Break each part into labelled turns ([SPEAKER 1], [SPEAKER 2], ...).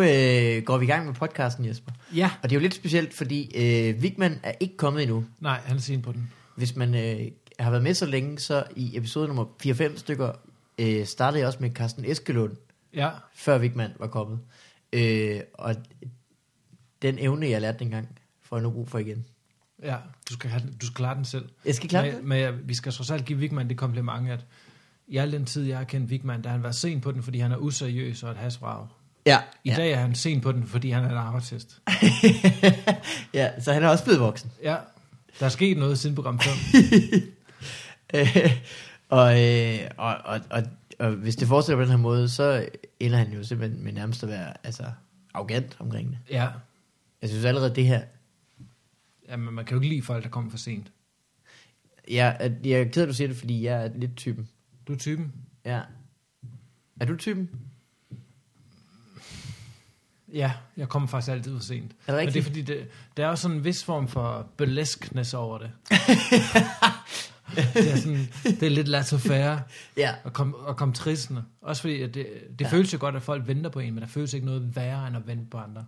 [SPEAKER 1] øh, går vi i gang med podcasten, Jesper.
[SPEAKER 2] Ja,
[SPEAKER 1] Og det er jo lidt specielt, fordi øh, Vigman er ikke kommet endnu.
[SPEAKER 2] nej, han er sen på den.
[SPEAKER 1] Hvis man øh, har været med så længe, så i episode nummer 4-5 stykker, øh, startede jeg også med Carsten Eskelund,
[SPEAKER 2] Ja,
[SPEAKER 1] før Vigman var kommet. Øh, og den evne, jeg lærte dengang, får jeg nu brug for igen.
[SPEAKER 2] ja. Du skal, have den, du skal klare den selv.
[SPEAKER 1] Jeg skal klare det.
[SPEAKER 2] Men, men jeg- vi skal trods alt give Vigman det kompliment, at i al den tid, jeg har kendt Vigman, der har han været sen på den, fordi han er useriøs og et hasvrag.
[SPEAKER 1] Ja,
[SPEAKER 2] I
[SPEAKER 1] ja.
[SPEAKER 2] dag er han sen på den, fordi han er en arbejdshest.
[SPEAKER 1] ja, så han er også blevet voksen.
[SPEAKER 2] Ja, der er sket noget siden program 5.
[SPEAKER 1] Øh, og, øh, og, og, og, og hvis det fortsætter på den her måde, så ender han jo simpelthen med nærmest at være altså, arrogant omkring det.
[SPEAKER 2] Ja,
[SPEAKER 1] Jeg synes allerede det her,
[SPEAKER 2] ja men man kan jo ikke lide folk, der kommer for sent.
[SPEAKER 1] jeg, at- jeg er ked af, at du siger det, fordi jeg er lidt typen.
[SPEAKER 2] Du er typen.
[SPEAKER 1] Ja. Er du typen?
[SPEAKER 2] Ja, jeg kommer faktisk altid for sent.
[SPEAKER 1] Er det
[SPEAKER 2] Men det er
[SPEAKER 1] rigtigt?
[SPEAKER 2] fordi, det, der er jo sådan en vis form for burleskness over det. det, er sådan, det er lidt laissez-faire
[SPEAKER 1] Ja.
[SPEAKER 2] og kom, og kom tristende. Også fordi, at det, det
[SPEAKER 1] Ja.
[SPEAKER 2] ja. føles jo godt, at folk venter på en, men der føles ikke noget værre, end at vente på andre.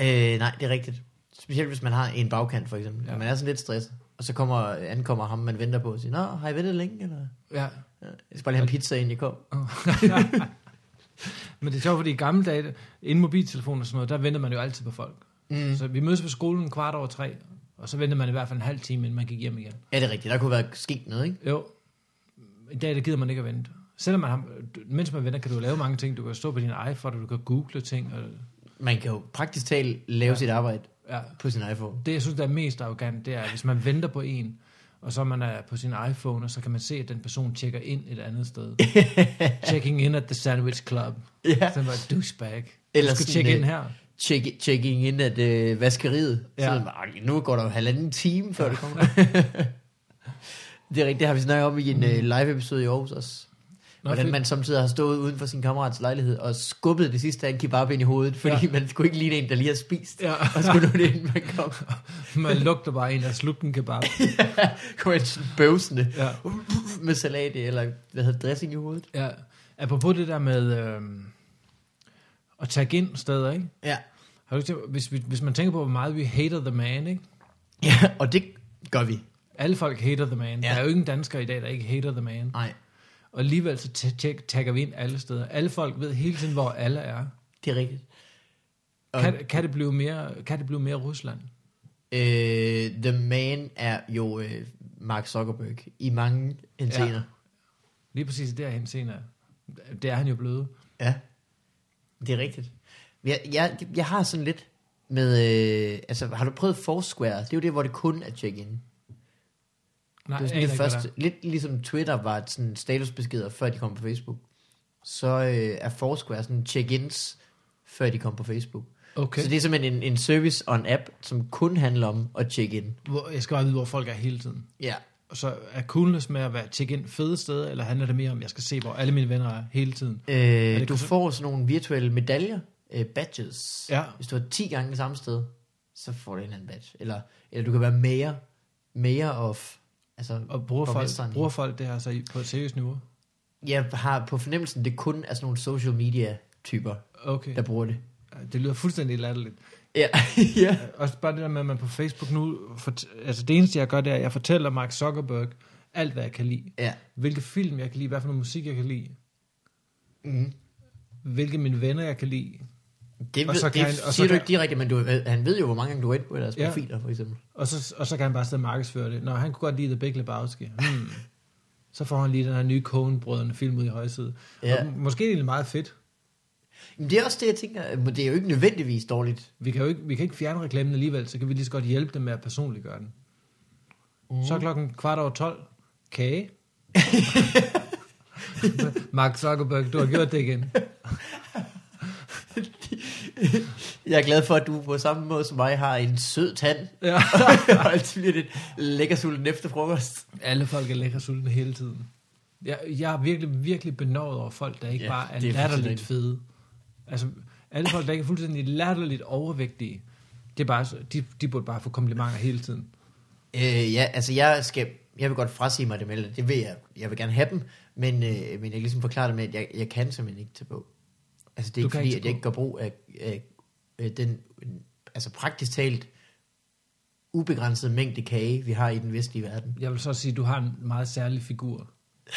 [SPEAKER 1] Øh, nej, det er rigtigt. Specielt hvis man har en bagkant, for eksempel. Ja.
[SPEAKER 2] Ja.
[SPEAKER 1] Man er sådan lidt stresset. Og så kommer, ankommer ham, man venter på og siger, Nå, har I ventet længe? Eller?
[SPEAKER 2] Ja.
[SPEAKER 1] Ja, Jeg skal bare lige have en pizza, inden jeg kom.
[SPEAKER 2] men det er sjovt, fordi i gamle dage, inden mobiltelefoner og sådan noget, der ventede man jo altid på folk.
[SPEAKER 1] Mm.
[SPEAKER 2] Mm. Så vi mødes på skolen kvart over tre, og så ventede man i hvert fald en halv time, inden man gik hjem igen.
[SPEAKER 1] Ja, det er rigtigt. Der kunne være sket noget, ikke?
[SPEAKER 2] Jo. I dag, der gider man ikke at vente. Selvom man har, du- mens man venter, kan du lave mange ting. Du kan stå på din iPhone, og du kan google ting. Og,
[SPEAKER 1] Man kan jo praktisk talt lave ja.
[SPEAKER 2] Ja.
[SPEAKER 1] sit arbejde
[SPEAKER 2] ja.
[SPEAKER 1] på sin iPhone.
[SPEAKER 2] Det, jeg synes, der er mest arrogant, det er, hvis man venter på en, og så man er på sin iPhone, og så kan man se, at den person tjekker ind et andet sted. Checking in at the Sandwich Club.
[SPEAKER 1] Ja.
[SPEAKER 2] Så var douchebag.
[SPEAKER 1] Eller
[SPEAKER 2] Eller du skal
[SPEAKER 1] sådan,
[SPEAKER 2] tjekke
[SPEAKER 1] øh,
[SPEAKER 2] ind her.
[SPEAKER 1] Check, checking ind at øh, vaskeriet. Ja.
[SPEAKER 2] Ja.
[SPEAKER 1] Så er man bare, "Okay, nu går der jo halvanden time, før ja. det kommer. det er rigtigt. Det har vi snakket om i en øh, live-episode i Aarhus også.
[SPEAKER 2] Nå,
[SPEAKER 1] Hvordan
[SPEAKER 2] fedt.
[SPEAKER 1] man samtidig har stået uden for sin kammerats lejlighed og skubbet det sidste af en kebab ind i hovedet, fordi ja. man skulle ikke ligne en, der lige har spist,
[SPEAKER 2] Ja.
[SPEAKER 1] og skulle nå det, inden man kom.
[SPEAKER 2] Man lugter bare en, der slugte en kebab.
[SPEAKER 1] Kom ind sådan bøvsende
[SPEAKER 2] Ja.
[SPEAKER 1] med salat i, eller hvad hedder det, dressing i hovedet.
[SPEAKER 2] ja. Apropos det der med øhm, at tagge ind steder, ikke?
[SPEAKER 1] Ja.
[SPEAKER 2] Har du ikke tænkt, hvis, vi, hvis man tænker på, hvor meget vi hater the man, ikke?
[SPEAKER 1] ja, og det gør vi.
[SPEAKER 2] Alle folk hater the man.
[SPEAKER 1] Ja.
[SPEAKER 2] Ja. Der er jo ingen dansker i dag, der ikke hater the man.
[SPEAKER 1] Nej,
[SPEAKER 2] Og alligevel så t- tjek- tagger vi ind alle steder. Alle folk ved hele tiden, hvor alle er.
[SPEAKER 1] det er rigtigt. Og,
[SPEAKER 2] Kan, kan, det, blive mere, kan det blive mere Rusland?
[SPEAKER 1] øh, the man er jo øh, Mark Zuckerberg i mange hensener.
[SPEAKER 2] Lige præcis der han senere. Det er han jo blevet.
[SPEAKER 1] Ja. ja. Det er rigtigt. Jeg, jeg, jeg har sådan lidt med, øh, altså har du prøvet Foursquare? Det er jo det, hvor det kun er check-in.
[SPEAKER 2] Nej,
[SPEAKER 1] det var sådan
[SPEAKER 2] jeg
[SPEAKER 1] det
[SPEAKER 2] aner ikke, hvad
[SPEAKER 1] første, lidt ligesom Twitter var et sådan statusbeskeder, før de kom på Facebook. Så øh, er Foursquare sådan check-ins, før de kom på Facebook.
[SPEAKER 2] der er. Okay.
[SPEAKER 1] Okay. Så det er simpelthen en, en service on app, som kun handler om at check in.
[SPEAKER 2] Hvor, jeg skal bare vide, hvor folk er hele tiden.
[SPEAKER 1] Ja.
[SPEAKER 2] Og så er coolness med at være tjekke ind fede steder, eller handler det mere om, at jeg skal se, hvor alle mine venner er hele tiden?
[SPEAKER 1] Øh,
[SPEAKER 2] det
[SPEAKER 1] du
[SPEAKER 2] kun-
[SPEAKER 1] får sådan nogle virtuelle medaljer, øh, badges.
[SPEAKER 2] Ja.
[SPEAKER 1] Hvis du har 10 gange det samme sted, så får du en eller anden badge. Eller, eller du kan være mayor, mayor of, altså
[SPEAKER 2] Og bruger folk,
[SPEAKER 1] borgmesteren i-
[SPEAKER 2] bruger folk det her så i- på et seriøst niveau?
[SPEAKER 1] Jeg har på fornemmelsen, det kun er sådan nogle social media typer,
[SPEAKER 2] Okay.
[SPEAKER 1] der bruger det.
[SPEAKER 2] Det lyder fuldstændig latterligt.
[SPEAKER 1] Ja, ja.
[SPEAKER 2] Også bare det der med, at man på Facebook nu... Fort- altså det eneste, jeg gør, det er, at jeg fortæller Mark Zuckerberg alt, hvad jeg kan lide.
[SPEAKER 1] Ja.
[SPEAKER 2] Hvilke film, jeg kan lide. Hvad for noget musik, jeg kan lide.
[SPEAKER 1] Mm.
[SPEAKER 2] Hvilke mine venner, jeg kan lide.
[SPEAKER 1] Det, ved,
[SPEAKER 2] Og så
[SPEAKER 1] det
[SPEAKER 2] kan han- og
[SPEAKER 1] siger
[SPEAKER 2] så
[SPEAKER 1] du
[SPEAKER 2] kan-
[SPEAKER 1] ikke direkte, men du, han ved jo, hvor mange gange du er inde på deres ja.
[SPEAKER 2] Ja.
[SPEAKER 1] profiler, for eksempel.
[SPEAKER 2] Og så, og så kan han bare sidde og markedsføre det. Nå, han kunne godt lide The Big Lebowski. Hmm. Så får han lige den her nye Coen-brødrene film ud i højsiden.
[SPEAKER 1] Ja.
[SPEAKER 2] Ja. Og måske er det egentlig meget fedt.
[SPEAKER 1] Men det er også det, jeg tænker, men det er jo ikke nødvendigvis dårligt.
[SPEAKER 2] Vi kan jo ikke, vi kan ikke fjerne reklamen alligevel, så kan vi lige så godt hjælpe dem med at personliggøre den. Mm. Så er klokken kvart over 12. Kage. Mark Zuckerberg, du har gjort det igen.
[SPEAKER 1] Jeg er glad for, at du på samme måde som mig har en sød tand,
[SPEAKER 2] Ja.
[SPEAKER 1] og altid bliver lidt lækker sulten efter frokost.
[SPEAKER 2] Alle folk er lækre sultne hele tiden. Jeg, jeg er virkelig, virkelig benovet over folk, der ikke
[SPEAKER 1] Ja,
[SPEAKER 2] ja, bare er
[SPEAKER 1] det er
[SPEAKER 2] latterligt
[SPEAKER 1] fuldstændig.
[SPEAKER 2] fede. Altså, alle folk, der ikke er fuldstændig latterligt overvægtige, det er bare, så- de, de burde bare få komplimenter hele tiden.
[SPEAKER 1] Øh, ja, altså jeg skal, jeg vil godt frasige mig dem, eller det vil jeg, jeg vil gerne have dem, men, øh, men jeg kan ligesom forklare det med, at jeg, jeg kan simpelthen ikke tage på. Altså det er
[SPEAKER 2] Du
[SPEAKER 1] ikke
[SPEAKER 2] kan
[SPEAKER 1] fordi,
[SPEAKER 2] ikke
[SPEAKER 1] at jeg
[SPEAKER 2] tage på.
[SPEAKER 1] ikke gør brug af, af øh, den altså praktisk talt ubegrænsede mængde kage, vi har i den vestlige verden.
[SPEAKER 2] Jeg vil så sige, at du har en meget særlig figur.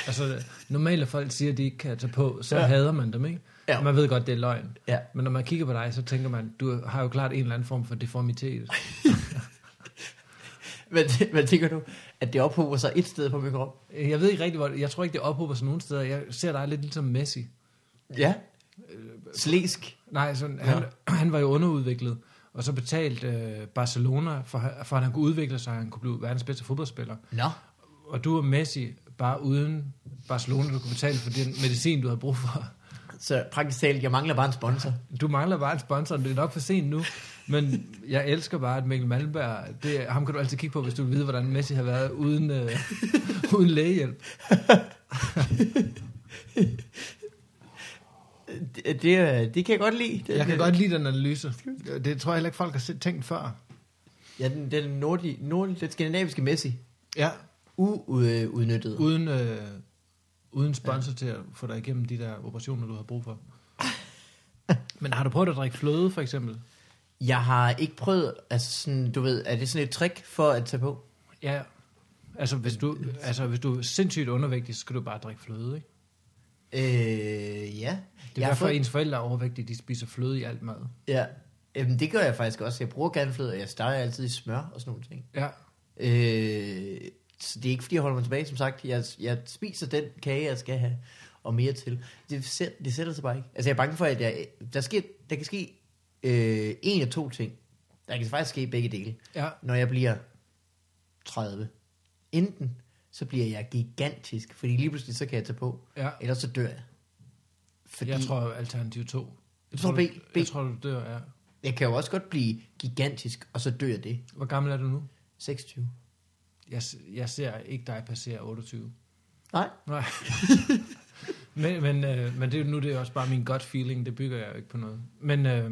[SPEAKER 2] Altså, normale folk siger, at de ikke kan tage på, så
[SPEAKER 1] Ja.
[SPEAKER 2] ja. hader man dem, ikke?
[SPEAKER 1] Ja.
[SPEAKER 2] Ja. Man ved godt, det er løgn.
[SPEAKER 1] Ja.
[SPEAKER 2] Men når man kigger på dig, så tænker man, du har jo klart en eller anden form for deformitet.
[SPEAKER 1] Men, hvad tænker du, at det ophober sig et sted på min krop?
[SPEAKER 2] Jeg ved ikke rigtig, hvor... Jeg tror ikke, det ophober sig nogen steder. Jeg ser dig lidt ligesom Messi.
[SPEAKER 1] Ja. Slæsk.
[SPEAKER 2] Nej, sådan, han, han var jo underudviklet, og så betalte øh, Barcelona, for, for at han kunne udvikle sig, og han kunne blive verdens bedste fodboldspiller.
[SPEAKER 1] Nå.
[SPEAKER 2] Og du og Messi, bare uden Barcelona, du kunne betale for den medicin, du havde brug for.
[SPEAKER 1] Så praktisk talt, jeg mangler bare en sponsor.
[SPEAKER 2] Du mangler bare en sponsor, og det er nok for sent nu. Men jeg elsker bare, at Mikkel Malmberg, det, ham kan du altid kigge på, hvis du vil vide, hvordan Messi har været uden, øh, uden lægehjælp.
[SPEAKER 1] Det, det, øh, det kan jeg godt lide. Det,
[SPEAKER 2] Jeg kan
[SPEAKER 1] det-
[SPEAKER 2] godt lide den analyse. Det tror jeg heller ikke, folk har set- tænkt før.
[SPEAKER 1] Ja, den, den nordlige, nordlige, den skandinaviske Messi.
[SPEAKER 2] Ja,
[SPEAKER 1] Uudnyttet.
[SPEAKER 2] uden, øh, uden sponsor til at få dig igennem de der operationer, du har brug for. Men har du prøvet at drikke fløde, for eksempel?
[SPEAKER 1] Jeg har ikke prøvet, altså sådan, du ved, er det sådan et trick for at tage på?
[SPEAKER 2] Ja, altså hvis du, altså, hvis du er sindssygt undervægtig, så skal du bare drikke fløde, ikke?
[SPEAKER 1] Øh, ja.
[SPEAKER 2] Det er derfor, at ens forældre er overvægtige, de spiser fløde i alt mad.
[SPEAKER 1] Ja, Jamen, det gør jeg faktisk også. Jeg bruger gerne fløde, og jeg steger altid i smør og sådan nogle ting.
[SPEAKER 2] Ja,
[SPEAKER 1] Øh, så det er ikke, fordi jeg holder mig tilbage. Som sagt, jeg, jeg spiser den kage, jeg skal have, og mere til. Det, sæt, det sætter sig bare ikke. Altså, jeg er bange for, at jeg, der, sker, der kan ske øh, en af to ting. Der kan faktisk ske begge dele.
[SPEAKER 2] ja.
[SPEAKER 1] Når jeg bliver 30. Enten så bliver jeg gigantisk, fordi lige pludselig så kan jeg tage på.
[SPEAKER 2] Ja,
[SPEAKER 1] Ellers så dør jeg.
[SPEAKER 2] fordi... jeg tror alternativ 2. Jeg
[SPEAKER 1] tror
[SPEAKER 2] du-
[SPEAKER 1] B- B.
[SPEAKER 2] Jeg tror, du dør, ja.
[SPEAKER 1] jeg kan jo også godt blive gigantisk, og så dør det.
[SPEAKER 2] Hvor gammel er du nu?
[SPEAKER 1] 26.
[SPEAKER 2] Jeg, s- jeg ser ikke dig passere 28.
[SPEAKER 1] Nej.
[SPEAKER 2] Nej. men men, øh, men det, er jo- nu det er også bare min gut feeling, det bygger jeg jo ikke på noget. Men, øh,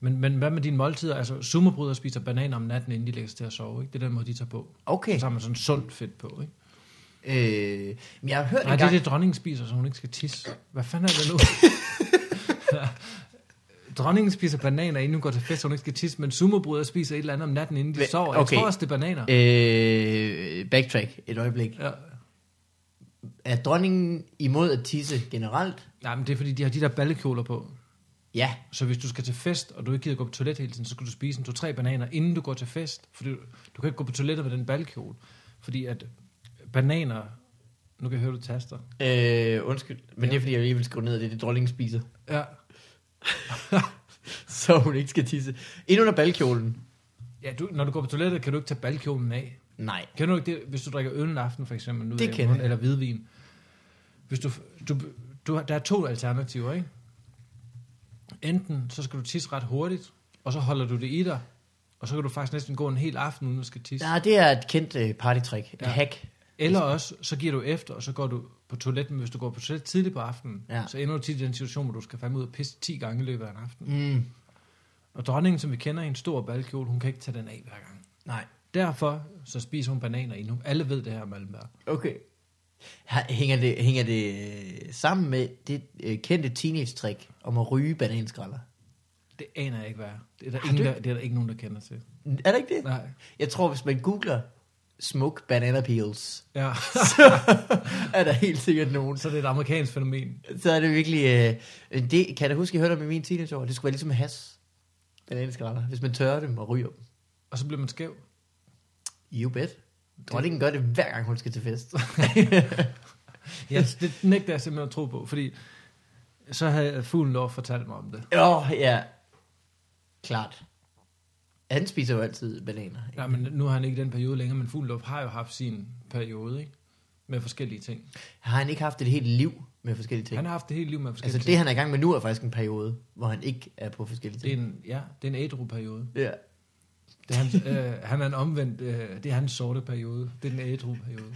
[SPEAKER 2] men, men hvad med dine måltider? Altså, summerbrødre spiser bananer om natten, inden de lægger sig til at sove, ikke? Det er den måde, de tager på.
[SPEAKER 1] Okay.
[SPEAKER 2] Så har man sådan sundt fedt på, ikke?
[SPEAKER 1] Øh, men jeg har hørt
[SPEAKER 2] Nej,
[SPEAKER 1] en
[SPEAKER 2] det er
[SPEAKER 1] gang...
[SPEAKER 2] det, dronningen spiser, så hun ikke skal tisse. Hvad fanden er det nu? dronningen spiser bananer, inden hun går til fest, så hun ikke skal tisse, men summerbrødre spiser et eller andet om natten, inden de
[SPEAKER 1] Hva-
[SPEAKER 2] sover. Jeg
[SPEAKER 1] okay.
[SPEAKER 2] tror også, det er bananer.
[SPEAKER 1] Øh, backtrack et øjeblik.
[SPEAKER 2] Ja.
[SPEAKER 1] Er dronningen imod at tisse generelt?
[SPEAKER 2] Nej, men det er, fordi de har de der ballekjoler på.
[SPEAKER 1] Ja.
[SPEAKER 2] Så hvis du skal til fest, og du ikke gider gå på toilet hele tiden, så skal du spise en to-tre bananer, inden du går til fest. For du, du kan ikke gå på toilettet med den ballekjole. Fordi at bananer... Nu kan jeg høre, du taster.
[SPEAKER 1] Øh, undskyld, men ja. det er fordi, jeg lige vil skrive ned, at det er det, dronningen spiser.
[SPEAKER 2] Ja,
[SPEAKER 1] Så hun ikke skal tisse. Ind under balkjolen.
[SPEAKER 2] ja du, når du går på toilettet, kan du ikke tage ballekjolen af.
[SPEAKER 1] Nej.
[SPEAKER 2] Kender du ikke det, hvis du drikker øl en aften, for eksempel? Nu,
[SPEAKER 1] Det
[SPEAKER 2] ved ikke,
[SPEAKER 1] kender jeg.
[SPEAKER 2] Eller hvidvin. Hvis du, du, du, har- der er to alternativer, ikke? Enten så skal du tisse ret hurtigt, og så holder du det i dig, og så kan du faktisk næsten gå en hel aften, uden at skal tisse.
[SPEAKER 1] Nej, det er et kendt øh, partytrick. Ja.
[SPEAKER 2] Ja.
[SPEAKER 1] Hack.
[SPEAKER 2] Eller også, så giver du efter, og så går du på toilettet, men hvis du går på toilettet tidligt på aftenen,
[SPEAKER 1] Ja.
[SPEAKER 2] ja. så ender du tit i den situation, hvor du skal fandme ud og pisse 10 gange i løbet af en aften.
[SPEAKER 1] Mm.
[SPEAKER 2] Og dronningen, som vi kender i en stor balkjole, hun kan ikke tage den af hver gang.
[SPEAKER 1] Nej.
[SPEAKER 2] Derfor så spiser hun bananer endnu. Alle ved det her, Malmberg.
[SPEAKER 1] Okay. Ha- Hænger det, hænger det øh, sammen med det øh, kendte teenage-trick om at ryge bananskralder?
[SPEAKER 2] Det aner jeg ikke, hvad er. Det er der,
[SPEAKER 1] Har
[SPEAKER 2] ingen,
[SPEAKER 1] du
[SPEAKER 2] der, det er der ikke nogen, der kender til.
[SPEAKER 1] Er det ikke det?
[SPEAKER 2] Nej.
[SPEAKER 1] Jeg tror, hvis man googler smoke banana peels,
[SPEAKER 2] Ja.
[SPEAKER 1] så er der helt sikkert nogen.
[SPEAKER 2] Så det er et amerikansk fænomen.
[SPEAKER 1] Så er det virkelig... Øh, det kan jeg da huske, jeg hørte om i min teenageår. Det skulle være ligesom has. Bananskræller. Hvis man tørrer dem og ryger dem.
[SPEAKER 2] Og så bliver man skæv.
[SPEAKER 1] You bet. Dronningen gør det hver gang, hun skal til fest.
[SPEAKER 2] Ja, det nægter jeg simpelthen at tro på, fordi så havde fuglen lov fortalt mig om det.
[SPEAKER 1] Åh, oh, ja. Klart. Han spiser jo altid bananer.
[SPEAKER 2] Nej, men nu har han ikke den periode længere, men Fuglendorf har jo haft sin periode, ikke? Med forskellige ting.
[SPEAKER 1] Har han ikke haft et helt liv med forskellige ting?
[SPEAKER 2] Han har haft det hele liv med forskellige
[SPEAKER 1] Altså det, han er i gang med nu, er faktisk en periode, hvor han ikke er på forskellige
[SPEAKER 2] ting. Det
[SPEAKER 1] ting.
[SPEAKER 2] er en, ja, det er en ædru-periode.
[SPEAKER 1] Ja.
[SPEAKER 2] Det er hans, øh, han er en omvendt, øh, det er hans sorte periode. Det er den ædru-periode.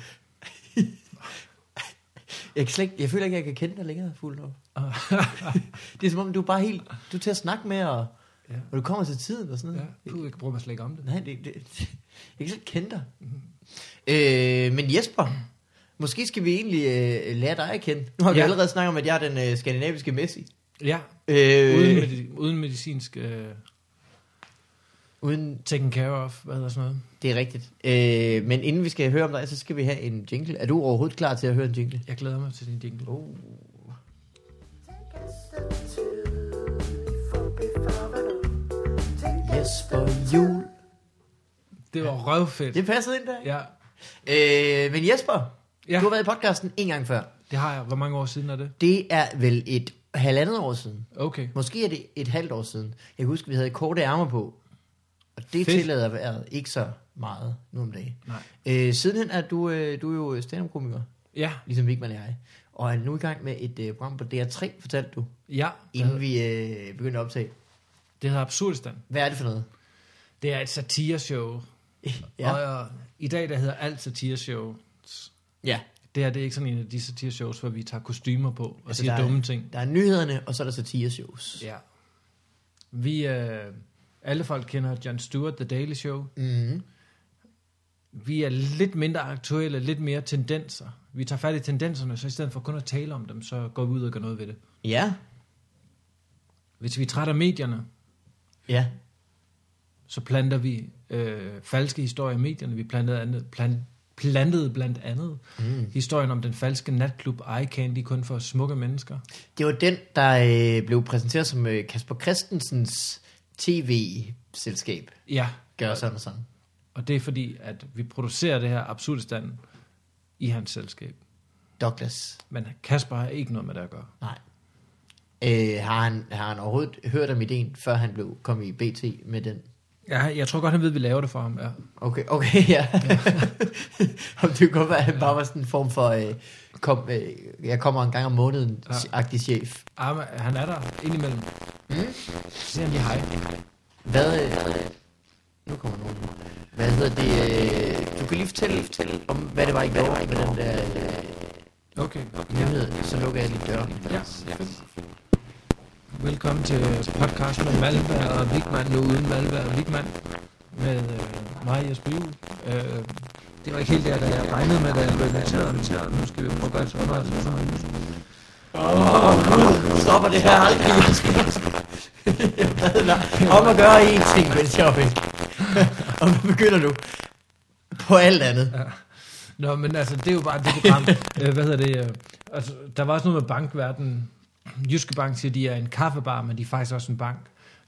[SPEAKER 1] Jeg, kan slet ikke, jeg føler ikke, jeg kan kende dig længere fuldt op. Det er som om, du er bare helt... Du er til at snakke med, og,
[SPEAKER 2] ja,
[SPEAKER 1] og du kommer til tiden og sådan noget.
[SPEAKER 2] ja. Puh, jeg bruger mig slet ikke om det.
[SPEAKER 1] Nej, det, det, det, jeg kan slet ikke kende dig. Mm-hmm. Øh, men Jesper, måske skal vi egentlig øh, lære dig at kende. Nu har vi
[SPEAKER 2] Ja.
[SPEAKER 1] allerede snakket om, at jeg er den øh, skandinaviske Messi.
[SPEAKER 2] Ja,
[SPEAKER 1] Øh, uden,
[SPEAKER 2] uden, medi- uden medicinsk uh,
[SPEAKER 1] uden,
[SPEAKER 2] taken care of, hvad hedder sådan noget.
[SPEAKER 1] det er rigtigt. Øh, men inden vi skal høre om dig, så skal vi have en jingle. Er du overhovedet klar til at høre en jingle?
[SPEAKER 2] Jeg glæder mig til din jingle.
[SPEAKER 1] Oh. Yes, for jul.
[SPEAKER 2] Det var røvfedt.
[SPEAKER 1] Det passede ind der.
[SPEAKER 2] Ja,
[SPEAKER 1] Øh, men Jesper, ja.
[SPEAKER 2] Ja.
[SPEAKER 1] du har været i podcasten en gang før.
[SPEAKER 2] det har jeg. Hvor mange år siden er det?
[SPEAKER 1] Det er vel et halvandet år siden.
[SPEAKER 2] Okay.
[SPEAKER 1] Måske er det et halvt år siden. Jeg kan huske, vi havde korte ærmer på. Og det Fedt.
[SPEAKER 2] Fedt.
[SPEAKER 1] tillader vejret ikke så meget nu om dagen.
[SPEAKER 2] Nej.
[SPEAKER 1] Øh, sidenhen er du, øh, du er jo stand-up-komiker,
[SPEAKER 2] Ja,
[SPEAKER 1] ligesom Vigman og jeg. Og er nu i gang med et øh, program på DR3, fortalte du,
[SPEAKER 2] ja.
[SPEAKER 1] inden vi øh, begyndte at optage.
[SPEAKER 2] Det hedder Absurdistan.
[SPEAKER 1] Hvad er det for noget?
[SPEAKER 2] Det er et satireshow.
[SPEAKER 1] ja.
[SPEAKER 2] Ja. Og øh, i dag, der hedder alt satireshow.
[SPEAKER 1] ja,
[SPEAKER 2] Det her, det er ikke sådan en af de satireshows, hvor vi tager kostymer på og
[SPEAKER 1] Altså,
[SPEAKER 2] altså, siger
[SPEAKER 1] der er-
[SPEAKER 2] dumme ting.
[SPEAKER 1] der er nyhederne, og så er der satireshows.
[SPEAKER 2] Ja. Vi, øh, alle folk kender Jon Stewart, The Daily Show.
[SPEAKER 1] Mm-hmm.
[SPEAKER 2] Vi er lidt mindre aktuelle, lidt mere tendenser. Vi tager fat i tendenserne, så i stedet for kun at tale om dem, så går vi ud og gør noget ved det.
[SPEAKER 1] Ja,
[SPEAKER 2] Hvis vi er trætte af medierne,
[SPEAKER 1] ja.
[SPEAKER 2] så planter vi øh, falske historier i medierne. Vi plantede, andet, plan, plantede blandt andet
[SPEAKER 1] Mhm.
[SPEAKER 2] mm. historien om den falske natklub Eye Candy, kun for smukke mennesker.
[SPEAKER 1] Det var den, der øh, blev præsenteret som øh, Kasper Christensens tv-selskab.
[SPEAKER 2] Ja,
[SPEAKER 1] Gør sådan og sådan.
[SPEAKER 2] og det er fordi, at vi producerer det her absurde stand i hans selskab.
[SPEAKER 1] Douglas.
[SPEAKER 2] Men Kasper har ikke noget med det at gøre.
[SPEAKER 1] Nej. Øh, har, han, har han overhovedet hørt om ideen, før han blev kom i BT med den?
[SPEAKER 2] Ja, jeg tror godt, han ved, at vi laver det for ham. Ja.
[SPEAKER 1] Okay, okay, ja. Om det kunne godt være, at han bare var sådan en form for, øh, kom, øh, jeg kommer en gang om måneden,
[SPEAKER 2] Ja.
[SPEAKER 1] agtig chef.
[SPEAKER 2] Arme, han er der indimellem. Mm. Så siger han lige hej.
[SPEAKER 1] Hvad, øh, nu kommer nogen. Hvad hedder det, øh, du kan lige fortælle, om, hvad det var, I gjorde med den der øh,
[SPEAKER 2] Okay. Ja.
[SPEAKER 1] nyhed, så lukker jeg lige døren.
[SPEAKER 2] Ja. Velkommen til podcasten med Malmberg og Vigman, nu uden Malmberg og Vigman, med øh, mig, Jesper Juhl. Øh, det var ikke helt der, da jeg regnede med, da jeg blev inviteret, men nu skal vi prøve at gøre det så underligt. som muligt.
[SPEAKER 1] Stopper det her aldrig, jeg skal om at gøre én ting, mens jeg er væk. Og man begynder nu på alt andet.
[SPEAKER 2] Nå, men altså, det er jo bare det program. øh, hvad hedder det? Øh, altså, der var også noget med bankverdenen. Jyske Bank siger, de er en kaffebar, men de er faktisk også en bank.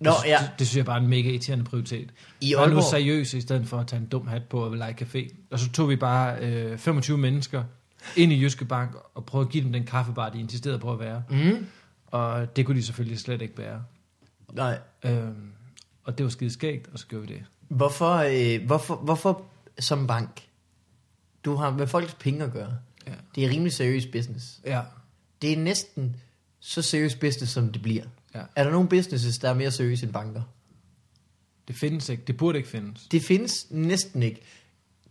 [SPEAKER 1] Nå,
[SPEAKER 2] det,
[SPEAKER 1] ja.
[SPEAKER 2] det, det synes jeg bare er en mega irriterende prioritet.
[SPEAKER 1] I
[SPEAKER 2] Var nu
[SPEAKER 1] Aalborg-
[SPEAKER 2] seriøs, i stedet for at tage en dum hat på og lege café. Og så tog vi bare øh, 25 mennesker ind i Jyske Bank og prøvede at give dem den kaffebar, de insisterede på at være.
[SPEAKER 1] Mm.
[SPEAKER 2] Og det kunne de selvfølgelig slet ikke bære.
[SPEAKER 1] Nej.
[SPEAKER 2] Øhm, og det var skide skægt, og så gjorde vi det.
[SPEAKER 1] Hvorfor, øh, hvorfor, hvorfor som bank? Du har med folks penge at gøre.
[SPEAKER 2] Ja.
[SPEAKER 1] Det er rimelig seriøs business.
[SPEAKER 2] Ja,
[SPEAKER 1] Det er næsten så seriøs business, som det bliver.
[SPEAKER 2] Ja.
[SPEAKER 1] Er der nogen businesses, der er mere seriøse end banker?
[SPEAKER 2] det findes ikke. Det burde ikke findes.
[SPEAKER 1] Det findes næsten ikke.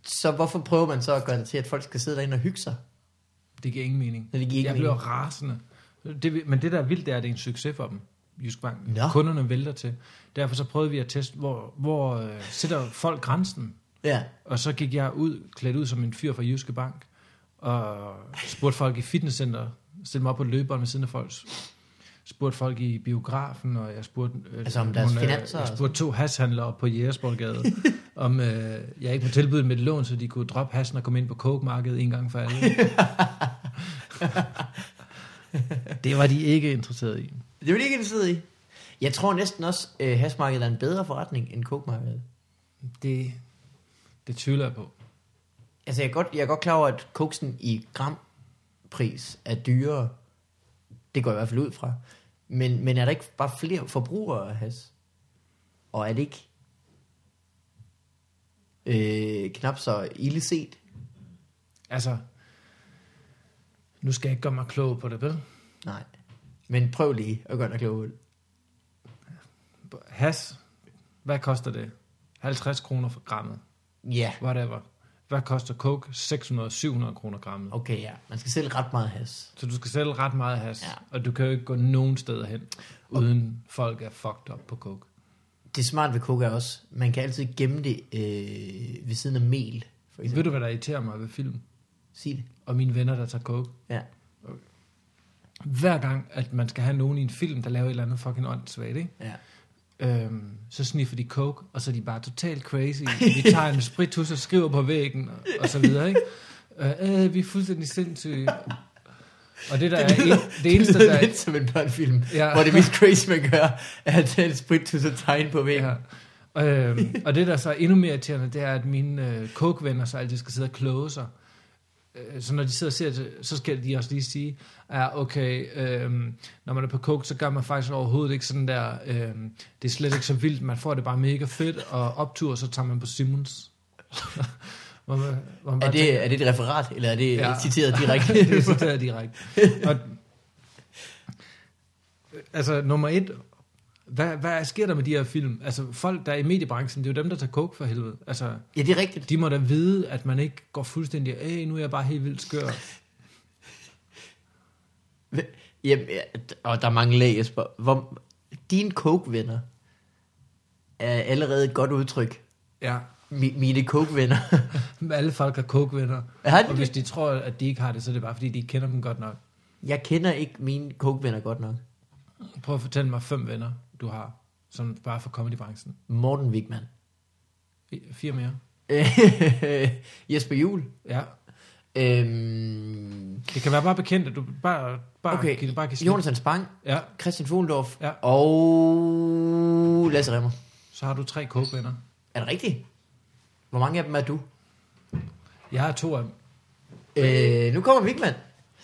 [SPEAKER 1] Så hvorfor prøver man så at gøre det til, at folk skal sidde derinde og hygge sig?
[SPEAKER 2] Det giver ingen mening.
[SPEAKER 1] Når det giver ikke
[SPEAKER 2] jeg
[SPEAKER 1] mening.
[SPEAKER 2] bliver rasende. Det, men det, der er vildt, det er, at det er en succes for dem, Jysk Bank.
[SPEAKER 1] Nå.
[SPEAKER 2] Kunderne vælter til. Derfor så prøvede vi at teste, hvor, hvor øh, sætter folk grænsen?
[SPEAKER 1] Ja.
[SPEAKER 2] Og så gik jeg ud, klædt ud som en fyr fra Jyske Bank, og spurgte folk i fitnesscenter, stillede mig op på løberen ved siden af folk, spurgte folk i biografen, og jeg spurgte, øh,
[SPEAKER 1] Altså om deres
[SPEAKER 2] nogle, øh,
[SPEAKER 1] finanser og
[SPEAKER 2] jeg
[SPEAKER 1] sådan.
[SPEAKER 2] spurgte to hashhandlere på Jægersborggade, om øh, jeg ikke må tilbyde dem et lån, så de kunne droppe hassen og komme ind på coke-markedet en gang for alle. det var de ikke interesseret i.
[SPEAKER 1] Det vil de ikke interesseret i. Jeg tror næsten også, at øh, hashmarkedet er en bedre forretning end coke-markedet.
[SPEAKER 2] Det, det tvivler jeg på.
[SPEAKER 1] Altså, jeg er, godt, jeg er godt klar over, at koksen i grampris er dyrere. Det går jeg i hvert fald ud fra. Men, men er der ikke bare flere forbrugere af has? Og er det ikke øh, knap så ille set?
[SPEAKER 2] Altså, nu skal jeg ikke gøre mig klog på det, vel?
[SPEAKER 1] Nej. Men prøv lige at gøre dig klog. ud.
[SPEAKER 2] Has, hvad koster det? 50 kroner for grammet,
[SPEAKER 1] Ja,
[SPEAKER 2] whatever. Hvad koster coke? 600-700 kroner grammet.
[SPEAKER 1] okay, ja. Man skal sælge ret meget has.
[SPEAKER 2] Så du skal sælge ret meget has,
[SPEAKER 1] Ja.
[SPEAKER 2] og du kan jo ikke gå nogen steder hen, uden folk er fucked up på coke.
[SPEAKER 1] Det smarte ved coke er også, man kan altid gemme det øh, ved siden af mel. For eksempel.
[SPEAKER 2] Ved du, hvad der irriterer mig ved film?
[SPEAKER 1] Sig det.
[SPEAKER 2] Og mine venner, der tager coke.
[SPEAKER 1] Ja.
[SPEAKER 2] hver gang, at man skal have nogen i en film, der laver et eller andet fucking åndssvagt, ikke?
[SPEAKER 1] Ja.
[SPEAKER 2] Øhm, så sniffer de coke, og så er de bare totalt crazy. De tager en spritus og skriver på væggen, og, og så videre, ikke? Øh, øh, vi er fuldstændig sindssyge. Og det, der
[SPEAKER 1] Det
[SPEAKER 2] er
[SPEAKER 1] lyder,
[SPEAKER 2] en, det eneste, der
[SPEAKER 1] lyder
[SPEAKER 2] er...
[SPEAKER 1] lidt som en børnefilm,
[SPEAKER 2] Ja.
[SPEAKER 1] ja. hvor det mest crazy, man gør, er at tage en sprit til så tegn på væggen.
[SPEAKER 2] Ja. Øhm, og det, der så er endnu mere irriterende, det er, at mine øh, coke-venner så altid skal sidde og kloge sig. Øh, så når de sidder og ser det, så skal de også lige sige, ja, okay, øhm, når man er på coke, så gør man faktisk overhovedet ikke sådan der, øhm, det er slet ikke så vildt, man får det bare mega fedt, og optur, så tager man på Simons. hvor man, hvor man
[SPEAKER 1] Er
[SPEAKER 2] bare
[SPEAKER 1] det, er det et referat, eller er det
[SPEAKER 2] Ja.
[SPEAKER 1] ja. citeret direkte?
[SPEAKER 2] det er citeret direkte. Og, altså, nummer et, hvad, hvad sker der med de her film? Altså, folk, der er i mediebranchen, det er jo dem, der tager coke for helvede. Altså,
[SPEAKER 1] ja, det er rigtigt.
[SPEAKER 2] de må da vide, at man ikke går fuldstændig, æh, nu er jeg bare helt vildt skør.
[SPEAKER 1] Jamen, ja, og der er mange lag, Jesper. Hvor, din coke-venner er allerede et godt udtryk.
[SPEAKER 2] Ja,
[SPEAKER 1] Mi, mine coke-venner.
[SPEAKER 2] alle folk har coke-venner.
[SPEAKER 1] Har de
[SPEAKER 2] Og hvis
[SPEAKER 1] det?
[SPEAKER 2] de tror, at de ikke har det, så er det bare, fordi de ikke kender dem godt nok.
[SPEAKER 1] Jeg kender ikke mine coke-venner godt nok.
[SPEAKER 2] Prøv at fortælle mig fem venner, du har, som bare fra comedybranchen.
[SPEAKER 1] Morten Wigman.
[SPEAKER 2] Fi- Fire mere.
[SPEAKER 1] Jesper Juhl.
[SPEAKER 2] Ja,
[SPEAKER 1] Øhm,
[SPEAKER 2] det kan være bare bekendt, at du bare, bare,
[SPEAKER 1] okay,
[SPEAKER 2] kan, bare kan slip.
[SPEAKER 1] Jonas Hans Bang.
[SPEAKER 2] Ja,
[SPEAKER 1] Christian Fuglendorf.
[SPEAKER 2] Ja.
[SPEAKER 1] Og Lasse Remmer.
[SPEAKER 2] så har du tre coke-venner.
[SPEAKER 1] Er det rigtigt? Hvor mange af dem er du?
[SPEAKER 2] Jeg har to af dem.
[SPEAKER 1] Øh, nu kommer Vigman.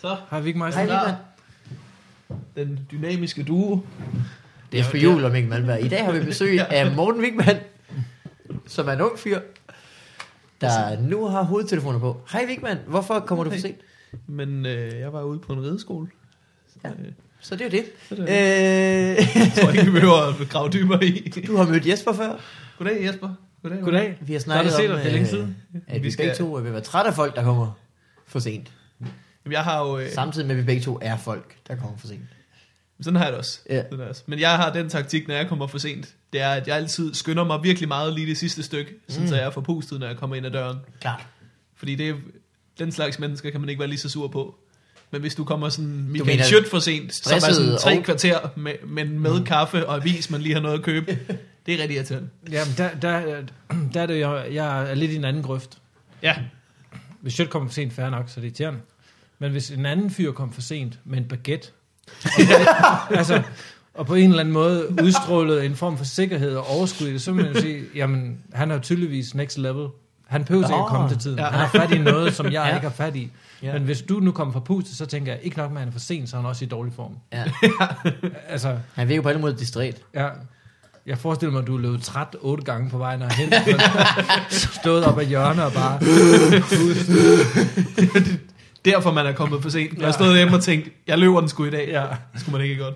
[SPEAKER 3] Så,
[SPEAKER 2] Har vi ikke meget
[SPEAKER 1] Hej
[SPEAKER 3] Hej,
[SPEAKER 1] Vigman.
[SPEAKER 3] den dynamiske duo.
[SPEAKER 1] Det er for jul og Mikkel Malmberg. I dag har vi besøg af Morten Vigman, som er en ung fyr, der nu har hovedtelefoner på. Hej Vigman, hvorfor kommer du for
[SPEAKER 3] Altså- Hej.
[SPEAKER 1] sent?
[SPEAKER 3] Men øh, jeg var ude på en rideskole.
[SPEAKER 1] Ja.
[SPEAKER 3] Ja. Øh,
[SPEAKER 1] Så det er jo det.
[SPEAKER 3] så det, øh.
[SPEAKER 1] Øh,
[SPEAKER 3] Jeg tror ikke, vi behøver at grave dybere i.
[SPEAKER 1] du har mødt Jesper før.
[SPEAKER 3] Goddag Jesper. Goddag.
[SPEAKER 2] Goddag.
[SPEAKER 1] Vi har
[SPEAKER 2] Godt
[SPEAKER 1] snakket
[SPEAKER 2] at se
[SPEAKER 1] om, øh,
[SPEAKER 2] dig. Det er længe siden.
[SPEAKER 1] at vi,
[SPEAKER 3] Vi
[SPEAKER 1] vi
[SPEAKER 3] skal-
[SPEAKER 1] begge to er ved at være trætte af folk, der kommer for sent.
[SPEAKER 3] Jamen, Jeg har jo... Øh,
[SPEAKER 1] Samtidig med, at vi begge to er folk, der kommer for sent.
[SPEAKER 3] sådan har jeg det også.
[SPEAKER 1] Ja.
[SPEAKER 3] Sådan er jeg også. Men jeg har den taktik, når jeg kommer for sent. Det er, at jeg altid skynder mig virkelig meget lige det sidste stykke. Sådan,
[SPEAKER 1] Mm.
[SPEAKER 3] så jeg er forpustet, når jeg kommer ind ad døren.
[SPEAKER 1] Klart.
[SPEAKER 3] Fordi det, den slags mennesker kan man ikke være lige så sur på. Men hvis du kommer sådan Michael
[SPEAKER 1] mener
[SPEAKER 3] Schødt for sent, som er sådan
[SPEAKER 1] stresset
[SPEAKER 3] tre
[SPEAKER 1] og-
[SPEAKER 3] kvarter, med, men med mm. kaffe og avis, man lige har noget at købe, det er rigtig irriterende.
[SPEAKER 2] Jamen, der, der, der er det jo, jeg er lidt i en anden grøft.
[SPEAKER 3] Ja,
[SPEAKER 2] Hvis Sjøt kommer for sent, fair nok, så er det irriterende. Men hvis en anden fyr kom for sent med en baguette, og, altså, og på en eller anden måde udstrålede en form for sikkerhed og overskud i det, så vil man jo sige, jamen, han er jo tydeligvis next level. Han behøver ikke at
[SPEAKER 1] Nå.
[SPEAKER 2] komme til tiden.
[SPEAKER 3] Ja.
[SPEAKER 2] Han har fat i noget, som jeg
[SPEAKER 1] Ja.
[SPEAKER 2] ikke har fat i.
[SPEAKER 1] Ja.
[SPEAKER 2] Men hvis du nu kommer fra pustet, så tænker jeg, ikke nok med, at han er for sent, så er han også i dårlig form.
[SPEAKER 1] Ja.
[SPEAKER 2] Altså,
[SPEAKER 1] Han virker på alle måder distræt.
[SPEAKER 2] Ja. Jeg forestiller mig, at du løb træt otte gange på vejen herhen. Stået op ad hjørnet og bare...
[SPEAKER 3] derfor man er kommet for sent. Jeg
[SPEAKER 2] Ja.
[SPEAKER 3] har stået hjemme og tænkt, jeg løber den sgu i dag. Ja.
[SPEAKER 2] Ja.
[SPEAKER 3] Det skulle man ikke godt.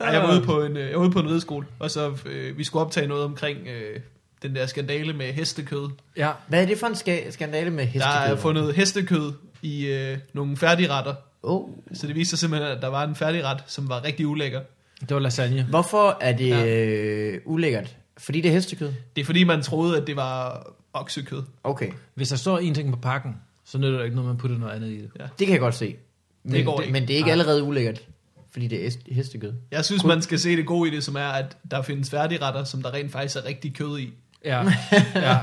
[SPEAKER 3] Ej, jeg, var ude på en, øh, jeg var ude på en rideskole, og så øh, vi skulle optage noget omkring øh, den der skandale med hestekød.
[SPEAKER 2] ja.
[SPEAKER 1] Hvad er det for en ska- skandale med
[SPEAKER 3] Der
[SPEAKER 1] hestekød?
[SPEAKER 3] er fundet hestekød i øh, nogle færdigretter.
[SPEAKER 1] Oh.
[SPEAKER 3] Så det viste sig simpelthen, at der var en færdigret, som var rigtig ulækker.
[SPEAKER 2] Det var lasagne.
[SPEAKER 1] Hvorfor er det
[SPEAKER 3] Ja.
[SPEAKER 1] øh, ulækkert? Fordi det er hestekød?
[SPEAKER 3] Det er fordi, man troede, at det var oksekød.
[SPEAKER 1] Okay,
[SPEAKER 2] Hvis der står en ting på pakken, så nytter det ikke noget, man putter noget andet i det.
[SPEAKER 1] det kan jeg godt se. Men det,
[SPEAKER 3] går ikke.
[SPEAKER 1] men det er ikke
[SPEAKER 2] Nej.
[SPEAKER 1] allerede ulækkert, fordi det er hest- hestekød.
[SPEAKER 3] Jeg synes, man skal se det gode i det, som er, at der findes færdigretter, som der rent faktisk er rigtig kød i.
[SPEAKER 2] Ja. ja.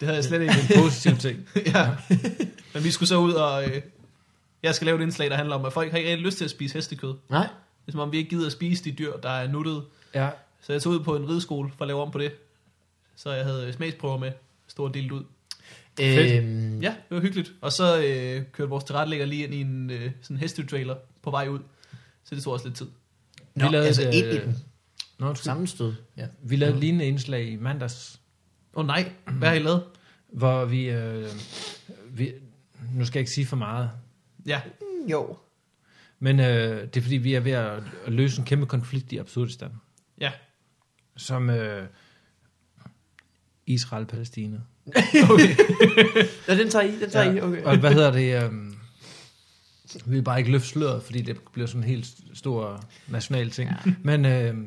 [SPEAKER 3] Det havde jeg slet
[SPEAKER 2] Det er
[SPEAKER 3] ikke.
[SPEAKER 2] en positiv ting.
[SPEAKER 3] ja. Men vi skulle så ud og... Øh, jeg skal lave et indslag, der handler om, at folk har ikke rigtig lyst til at spise hestekød.
[SPEAKER 1] Nej?
[SPEAKER 3] Det er som om, vi ikke gider at spise de dyr, der er nuttet.
[SPEAKER 2] Ja.
[SPEAKER 3] Så jeg tog ud på en rideskole for at lave om på det. Så jeg havde øh, smagsprøver med. Stort delt ud.
[SPEAKER 2] Fedt.
[SPEAKER 1] Øhm,
[SPEAKER 3] Ja, det var hyggeligt. Og så øh, kørte vores tilrettelægger lige ind i en øh, sådan hestetrailer på vej ud. Så det tog også lidt tid.
[SPEAKER 1] Nå,
[SPEAKER 2] Vi lavede
[SPEAKER 1] altså
[SPEAKER 2] et,
[SPEAKER 1] et, i
[SPEAKER 2] øh,
[SPEAKER 1] den
[SPEAKER 2] Nå, undskyld.
[SPEAKER 1] sammenstød. Ja.
[SPEAKER 2] vi lavede et lignende indslag i mandags,
[SPEAKER 3] Åh oh, nej, hvad har I lavet?
[SPEAKER 2] hvor vi, øh, vi... Nu skal jeg ikke sige for meget,
[SPEAKER 3] Ja,
[SPEAKER 1] Jo.
[SPEAKER 2] men øh, det er fordi, vi er ved at at løse en kæmpe konflikt i Absurdistan.
[SPEAKER 3] ja.
[SPEAKER 2] Som øh, Israel-Palæstina.
[SPEAKER 1] Ja, den tager I, den tager ja. I, okay.
[SPEAKER 2] Og hvad hedder det? øhm, vi vil bare ikke løfte sløret, fordi det bliver sådan en helt stor national ting. Ja. Men øhm,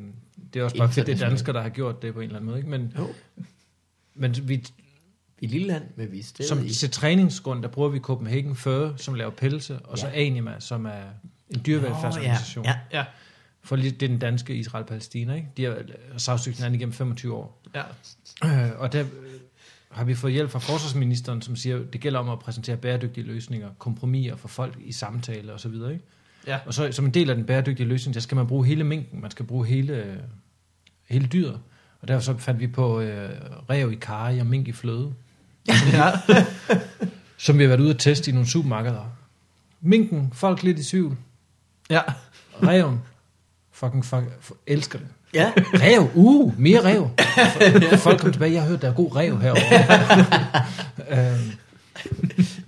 [SPEAKER 2] det er også bare fedt, det er
[SPEAKER 1] Internationalt.
[SPEAKER 2] danskere, der har gjort det på en eller anden måde. Ikke? Men,
[SPEAKER 1] Jo.
[SPEAKER 2] men vi,
[SPEAKER 1] Vi er et lille land, men vi er stedet
[SPEAKER 2] som
[SPEAKER 1] i.
[SPEAKER 2] til træningsgrund, der bruger vi Copenhagen Fur, som laver pelse, og så Anima, som er En dyrevelfærdsorganisation.
[SPEAKER 1] ja,
[SPEAKER 3] Ja,
[SPEAKER 2] For lige, det er den danske Israel-Palæstina, ikke? De har øh, sagsøgt hinanden igennem 25 år.
[SPEAKER 3] ja.
[SPEAKER 2] Øh, og der øh, har vi fået hjælp fra forsvarsministeren, som siger, det gælder om at præsentere bæredygtige løsninger, kompromiser for folk i samtale osv. Ikke?
[SPEAKER 3] Ja.
[SPEAKER 2] Og så som en del af den bæredygtige løsning, der skal man bruge hele mængden, man skal bruge hele, øh, hele dyret. Og derfor så fandt vi på øh, rev i karry og mink i fløde,
[SPEAKER 3] ja.
[SPEAKER 2] som vi har været ude at teste i nogle supermarkeder. Minken, folk lidt i tvivl.
[SPEAKER 3] ja.
[SPEAKER 2] Reven, fucking fuck, elsker det.
[SPEAKER 1] ja.
[SPEAKER 2] Rev, uh, mere rev. Folk kom tilbage, jeg har hørt, der er god rev herovre. øhm,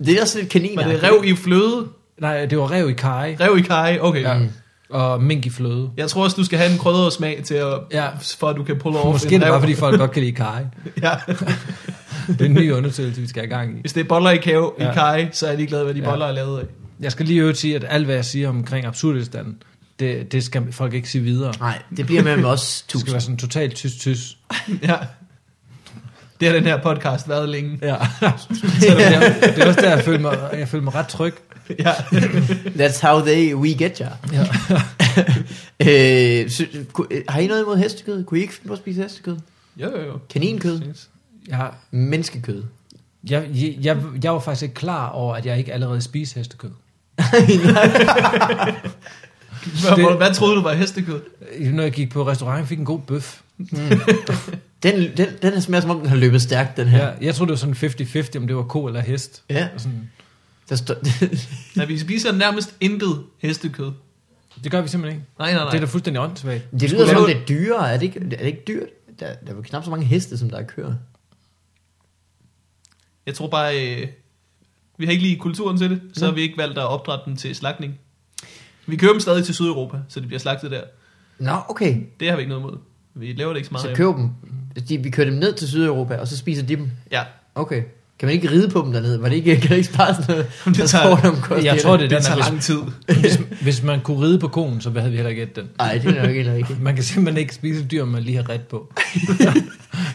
[SPEAKER 1] Det er også lidt kanin.
[SPEAKER 3] Var det rev i fløde?
[SPEAKER 2] Nej, det var rev i karry.
[SPEAKER 3] Rev i kaj? Okay. Ja.
[SPEAKER 2] Ja. Og mink i fløde.
[SPEAKER 3] Jeg tror også, du skal have en krydret smag til at,
[SPEAKER 2] Ja.
[SPEAKER 3] for at du kan pulle over
[SPEAKER 2] Måske det er det bare, fordi folk godt kan lide karry.
[SPEAKER 3] ja.
[SPEAKER 2] Det er en ny undersøgelse, vi skal have gang i.
[SPEAKER 3] Hvis det er boller i, kave, ja.
[SPEAKER 2] Ja.
[SPEAKER 3] i kaj, så er jeg ligeglad, hvad de
[SPEAKER 2] Ja.
[SPEAKER 3] ja. boller er lavet af.
[SPEAKER 2] Jeg skal lige i øvrigt sige, at alt, hvad jeg siger omkring absurdistanden, det, det skal folk ikke sige videre.
[SPEAKER 1] Nej, det bliver mellem os
[SPEAKER 2] Det skal
[SPEAKER 1] tusind.
[SPEAKER 2] være sådan totalt tys-tys.
[SPEAKER 3] Ja. Det har den her podcast været længe.
[SPEAKER 2] Ja. Selvom jeg- det er også der, jeg føler mig, jeg føler mig ret tryg.
[SPEAKER 3] Ja.
[SPEAKER 1] That's how they, we get you.
[SPEAKER 2] Ja.
[SPEAKER 1] Øh, sy- ku- øh, har I noget imod hestekød? Kunne I ikke finde på at spise hestekød?
[SPEAKER 3] Jo, jo, jo.
[SPEAKER 1] Kaninkød?
[SPEAKER 2] Jeg,
[SPEAKER 1] Menneskekød?
[SPEAKER 2] jeg, jeg, jeg var faktisk ikke klar over, at jeg ikke allerede spiser hestekød.
[SPEAKER 3] Hvad,
[SPEAKER 2] Det-
[SPEAKER 3] det... hvad troede du var hestekød?
[SPEAKER 2] Øh, Når jeg gik på restaurant, fik jeg en god bøf.
[SPEAKER 1] Den, den, den smager som om, den har løbet stærkt, den her.
[SPEAKER 2] Ja. Jeg troede, det var sådan 50-50, om det var ko eller hest.
[SPEAKER 1] Ja,
[SPEAKER 2] Og Sådan,
[SPEAKER 1] der står...
[SPEAKER 3] Nej, vi spiser nærmest intet hestekød.
[SPEAKER 2] det gør vi simpelthen ikke.
[SPEAKER 3] Nej, nej,
[SPEAKER 2] Nej.
[SPEAKER 3] nej.
[SPEAKER 2] Det er da fuldstændig åndssvagt.
[SPEAKER 1] det lyder som om,
[SPEAKER 3] lave-
[SPEAKER 1] det er dyrere. Er det ikke, er det ikke dyrt? Der, der er jo knap så mange heste, som der er køer.
[SPEAKER 3] Jeg tror bare, øh, vi har ikke lige kulturen til det, så har vi ikke valgt at opdrætte dem til slagtning. Vi kører dem stadig til Sydeuropa, så de bliver slagtet der.
[SPEAKER 1] Nå, okay.
[SPEAKER 3] Det har vi ikke noget imod. Vi laver det ikke så meget.
[SPEAKER 1] Så
[SPEAKER 3] af.
[SPEAKER 1] køb dem. De, vi kører dem ned til Sydeuropa, og så spiser de dem.
[SPEAKER 3] Ja,
[SPEAKER 1] Okay. Kan man ikke ride på dem dernede? Var det ikke, kan det ikke spare sådan noget?
[SPEAKER 3] Det
[SPEAKER 1] der
[SPEAKER 3] tager-
[SPEAKER 1] står der omkostninger?
[SPEAKER 2] Jeg tror, det er
[SPEAKER 3] det,
[SPEAKER 2] den,
[SPEAKER 3] det
[SPEAKER 2] at
[SPEAKER 3] tager
[SPEAKER 2] hvis,
[SPEAKER 3] lang tid.
[SPEAKER 2] hvis, hvis man kunne ride på konen, så havde vi heller ikke gættet den.
[SPEAKER 1] Nej, det er nok ikke rigtigt.
[SPEAKER 2] Man kan simpelthen ikke spise et dyr, man lige har ret på.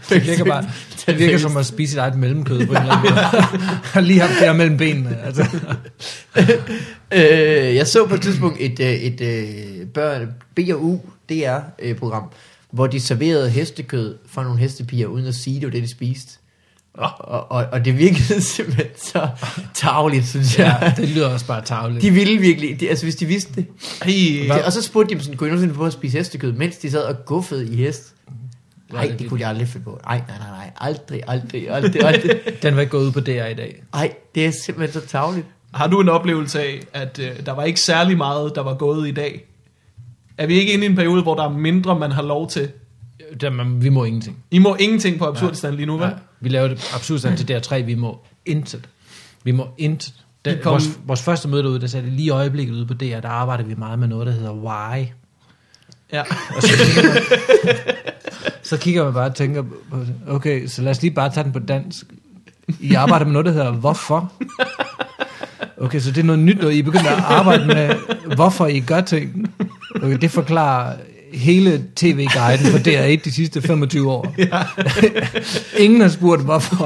[SPEAKER 2] Det virker, bare, det virker som at spise sit eget mellemkød på en eller anden måde. Og lige har flere mellem benene. Altså.
[SPEAKER 1] Øh, jeg så på et tidspunkt et, øh, et, et børn, BRU DR-program, øh, hvor de serverede hestekød for nogle hestepiger, uden at sige, det var det, de spiste. Og, og, og, og det virkede simpelthen så tageligt, synes jeg.
[SPEAKER 2] Ja, det lyder også bare tavligt.
[SPEAKER 1] De ville virkelig, de, altså hvis de vidste det.
[SPEAKER 3] Hey,
[SPEAKER 1] det. Og så spurgte de dem sådan, kunne I nogensinde få at spise hestekød, mens de sad og guffede i hest? Nej, det kunne de aldrig finde på. Nej, nej, nej, nej. Aldrig, aldrig, aldrig, aldrig.
[SPEAKER 2] Den var ikke gået ud på DR i dag.
[SPEAKER 1] Nej, det er simpelthen så tageligt.
[SPEAKER 3] har du en oplevelse af, at øh, der var ikke særlig meget, der var gået i dag? Er vi ikke inde i en periode, hvor der er mindre, man har lov til?
[SPEAKER 2] Der, man, vi må ingenting.
[SPEAKER 3] I må ingenting på absurdstand lige nu, vel?
[SPEAKER 2] Nej. Vi laver det absurd sådan til DR3. Vi må intet. Vi må intet.
[SPEAKER 3] Vi
[SPEAKER 2] Den,
[SPEAKER 3] kom-
[SPEAKER 2] vores, vores første møde derude, der sagde det lige i øjeblikket ude på DR, der arbejder vi meget med noget, der hedder why.
[SPEAKER 3] Ja.
[SPEAKER 2] Og så kigger man, så kigger man bare og tænker, på- okay, så lad os lige bare tage den på dansk. I arbejder med noget, der hedder hvorfor. Okay, så det er noget nyt, når I begynder at arbejde med, hvorfor I gør ting. Okay, det forklarer hele tv-guiden for DR1 de sidste 25 år. Ja. Ingen har spurgt, hvorfor.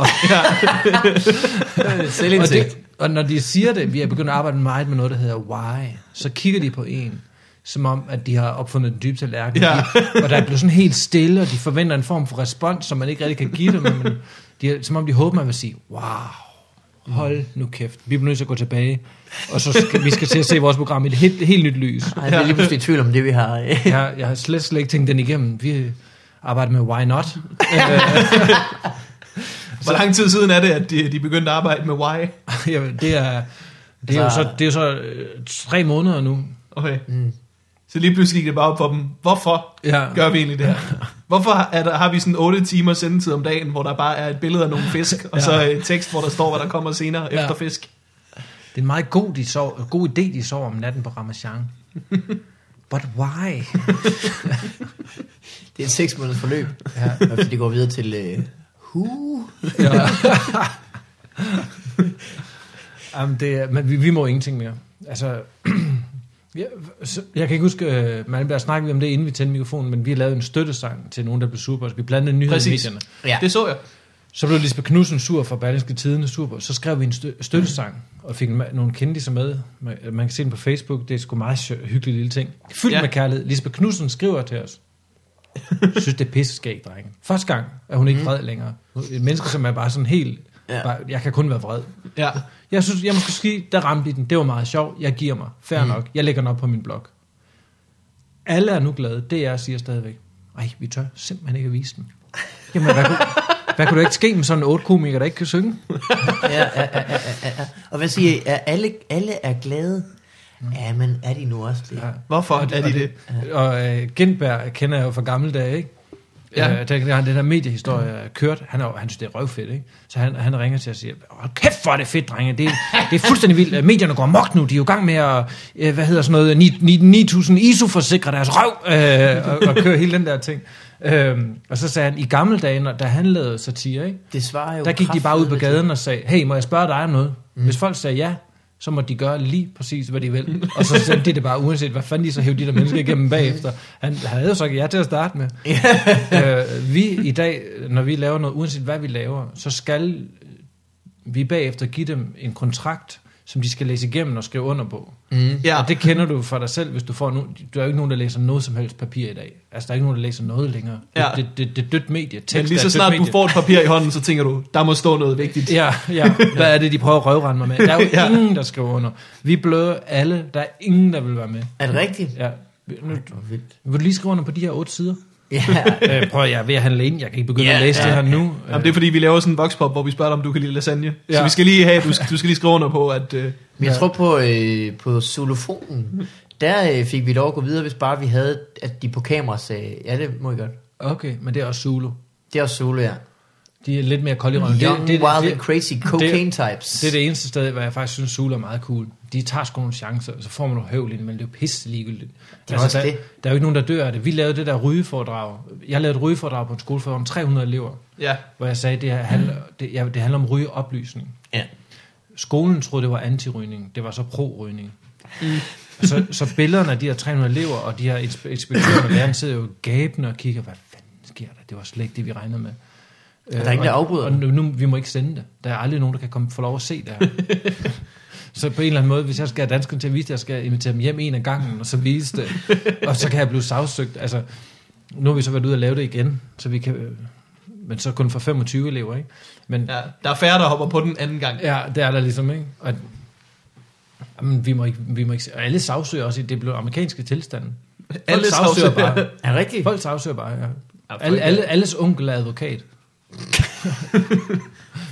[SPEAKER 2] Og, det, og når de siger det, vi er begyndt at arbejde meget med noget, der hedder why, så kigger de på en, som om, at de har opfundet den dybe tallerken.
[SPEAKER 3] Ja.
[SPEAKER 2] De, og der er blevet sådan helt stille, og de forventer en form for respons, som man ikke rigtig kan give dem. Men de, er- som om de håber, man vil sige, wow, hold nu kæft, vi bliver nødt til at gå tilbage. Og så skal, vi skal til at se vores program i et helt, helt nyt lys.
[SPEAKER 1] Ej, jeg er lige pludselig i tvivl om det, vi har. øh.
[SPEAKER 2] Jeg, har- jeg har slet, slet ikke tænkt den igennem. Vi arbejder med why not.
[SPEAKER 3] Hvor lang tid siden er det, at de, de begyndte at arbejde med why?
[SPEAKER 2] Jamen, det er, det er jo så, det er så øh, tre måneder nu.
[SPEAKER 3] Okay. Mm. Så lige pludselig gik det bare op for dem. Hvorfor
[SPEAKER 2] Ja.
[SPEAKER 3] gør vi egentlig det her? Hvorfor er der, har vi sådan 8 timer sendetid om dagen, hvor der bare er et billede af nogle fisk, og så et tekst, hvor der står, hvad der kommer senere
[SPEAKER 2] Ja.
[SPEAKER 3] efter fisk?
[SPEAKER 2] Det er en meget god, de sov, god idé, de sover om natten på Ramachan. But why?
[SPEAKER 1] Det er et seks måneders forløb. Ja. Og det går videre til... Øh, hu.
[SPEAKER 2] Ja. Jamen, det er, men vi, vi må ingenting mere. Altså, jeg, så, jeg kan ikke huske, uh, Malmberg snakkede vi om det, inden vi tændte mikrofonen, men vi lavede en støttesang til nogen, der blev sure på os. Vi blandede nyheder i
[SPEAKER 3] Præcis.
[SPEAKER 2] medierne.
[SPEAKER 1] Ja.
[SPEAKER 3] Det så jeg.
[SPEAKER 2] Så blev Lisbeth Knudsen sur for Berlingske Tidene sur på. Så skrev vi en stø- støttesang og fik en ma- nogle kendte med. Man øh, man kan se den på Facebook. Det er sgu meget sjov, hyggelig lille ting. Fyldt
[SPEAKER 3] Ja.
[SPEAKER 2] ja. med kærlighed. Lisbeth Knudsen skriver til os. synes, det er pisseskægt, drenge. Første gang er hun ikke vred længere. Et menneske, som er bare sådan helt...
[SPEAKER 1] Ja.
[SPEAKER 2] Mhm. Ja. Bare, jeg kan kun være vred.
[SPEAKER 3] Ja.
[SPEAKER 2] Jeg synes, jeg måske sige, der ramte i den. Det var meget sjovt. Jeg giver mig. Fair mm. nok. Jeg lægger den op på min blog. Alle er nu glade. Det er jeg siger stadigvæk. Ej, vi tør simpelthen ikke at vise den. Jamen, hvad kunne, hvad kunne der ikke ske med sådan en otte komiker, der ikke kan synge?
[SPEAKER 1] ja, ja, ja, ja, ja, ja. Og hvad siger I? Er alle, alle er glade?
[SPEAKER 2] Mm.
[SPEAKER 1] Ja, men er de nu også det? Ja.
[SPEAKER 3] Hvorfor
[SPEAKER 2] Og
[SPEAKER 3] er de det?
[SPEAKER 2] Og øh, Gentberg kender jeg jo fra gamle dage, ikke?
[SPEAKER 3] Ja.
[SPEAKER 2] Ja. Øh, der, der, den der mediehistorie er kørt. Han, er, jo- han synes, det er røvfedt, ikke? Så han, han ringer til og siger, Åh, kæft, hvor er det fedt, drenge. Det, er- det er fuldstændig vildt. Øh, Medierne går mok nu. De er jo i gang med at, øh, hvad hedder sådan noget, ni- ni- 9.000 ISO-forsikre deres røv øh, og, og køre hele den der ting. Øhm, og så sagde han, i gamle dage, når, da han lavede satire, ikke?
[SPEAKER 1] Det svarer jo
[SPEAKER 2] der gik de bare ud på
[SPEAKER 1] kraftedeme
[SPEAKER 2] gaden og sagde, hey, må jeg spørge dig om noget? Mm. Hvis folk sagde ja, så må de gøre lige præcis, hvad de vil. Og så sendte de det bare, uanset hvad fanden de så hævde de der mennesker igennem bagefter. Han havde jo sagt ja til at starte med. øh, vi i dag, når vi laver noget, uanset hvad vi laver, så skal vi bagefter give dem en kontrakt, som de skal læse igennem og skrive under på.
[SPEAKER 1] til. Mm.
[SPEAKER 3] Ja.
[SPEAKER 2] Ja. Og det kender du fra dig selv, hvis du får nu, Du er jo ikke nogen, der læser noget som helst papir i dag. Altså, der er ikke nogen, der læser noget længere.
[SPEAKER 3] Ja.
[SPEAKER 2] Det, det, det, det er dødt medie. Tekst
[SPEAKER 3] Men lige
[SPEAKER 2] er et
[SPEAKER 3] så
[SPEAKER 2] dødt
[SPEAKER 3] snart du
[SPEAKER 2] medie.
[SPEAKER 3] får et papir i hånden, så tænker du, der må stå noget vigtigt.
[SPEAKER 2] Ja, ja. Hvad er det, de prøver at røvrende mig med? Der er jo
[SPEAKER 3] Ja.
[SPEAKER 2] ja. ingen, der skriver under. Vi bløder alle. Der er ingen, der vil være med.
[SPEAKER 1] Er det rigtigt?
[SPEAKER 2] Ja. Nu,
[SPEAKER 1] Det var vildt.
[SPEAKER 2] vil du lige skrive under på de her otte sider?
[SPEAKER 1] Ja,
[SPEAKER 2] Øh, prøv at jeg er ved at handle ind. Jeg kan ikke begynde
[SPEAKER 1] Ja,
[SPEAKER 2] at læse
[SPEAKER 1] ja,
[SPEAKER 2] det her nu.
[SPEAKER 3] Jamen, det er fordi, vi laver sådan en voxpop, hvor vi spørger dig, om du kan lide lasagne. Ja. Så
[SPEAKER 2] Ja.
[SPEAKER 3] vi skal lige have, du skal, du skal lige skrive under på, at... Øh,
[SPEAKER 1] men jeg
[SPEAKER 2] Ja.
[SPEAKER 1] tror på, øh, på solofonen, der øh, fik vi lov at gå videre, hvis bare vi havde, at de på kamera sagde, ja, det må I godt.
[SPEAKER 2] Øh, Okay, men det er også Zulu.
[SPEAKER 1] Det er også solo, ja.
[SPEAKER 2] De er lidt mere kolde i røven.
[SPEAKER 1] Young,
[SPEAKER 2] det, det,
[SPEAKER 1] wild
[SPEAKER 2] det,
[SPEAKER 1] and crazy cocaine types.
[SPEAKER 2] det er det eneste sted, hvor jeg faktisk synes, Zulu er meget cool. De tager sgu nogle chancer, og så får man nogle høvl ind, men det er jo pisse ligegyldigt. Altså,
[SPEAKER 1] er også
[SPEAKER 2] der,
[SPEAKER 1] det.
[SPEAKER 2] der er jo ikke nogen, der dør af det. Vi lavede det der rygeforedrag. Jeg lavede et rygeforedrag på en skole for om 300 elever,
[SPEAKER 3] ja,
[SPEAKER 2] hvor jeg sagde, at det, her handler, det, ja, det handler om rygeoplysning.
[SPEAKER 1] Ja.
[SPEAKER 2] Skolen troede, det var antirygning. Det var så pro-rygning. Mm. Så, så billederne af de her 300 elever og de her inspe- inspektører og lærerne sidder jo gabende og kigger, hvad fanden sker der? Det var slet ikke det, vi regnede med. Øh,
[SPEAKER 1] der er ingen, der
[SPEAKER 2] og-
[SPEAKER 1] afbryder
[SPEAKER 2] Og nu, nu, vi må ikke sende det. Der er aldrig nogen, der kan komme, få lov at se det her. så på en eller anden måde, hvis jeg skal have danskerne til at vise det, jeg skal invitere dem hjem en af gangen, og så vise det. og så kan jeg blive sagsøgt. Altså, nu har vi så været ude og lave det igen, så vi kan... øh, Men så kun for 25 elever, ikke? Men,
[SPEAKER 3] ja, der er færre, der hopper på den anden gang.
[SPEAKER 2] Ja, det er der ligesom, ikke? Og, jamen, vi må ikke, vi må ikke, og alle sagsøger også, i- det blev amerikanske tilstande. Folk
[SPEAKER 3] Alle
[SPEAKER 2] alle sagsøger,
[SPEAKER 3] sagsøger.
[SPEAKER 2] bare.
[SPEAKER 1] Er det rigtigt?
[SPEAKER 2] Folk sagsøger bare, ja.
[SPEAKER 3] folk
[SPEAKER 2] alle,
[SPEAKER 3] er-
[SPEAKER 2] alle, alles onkel er advokat.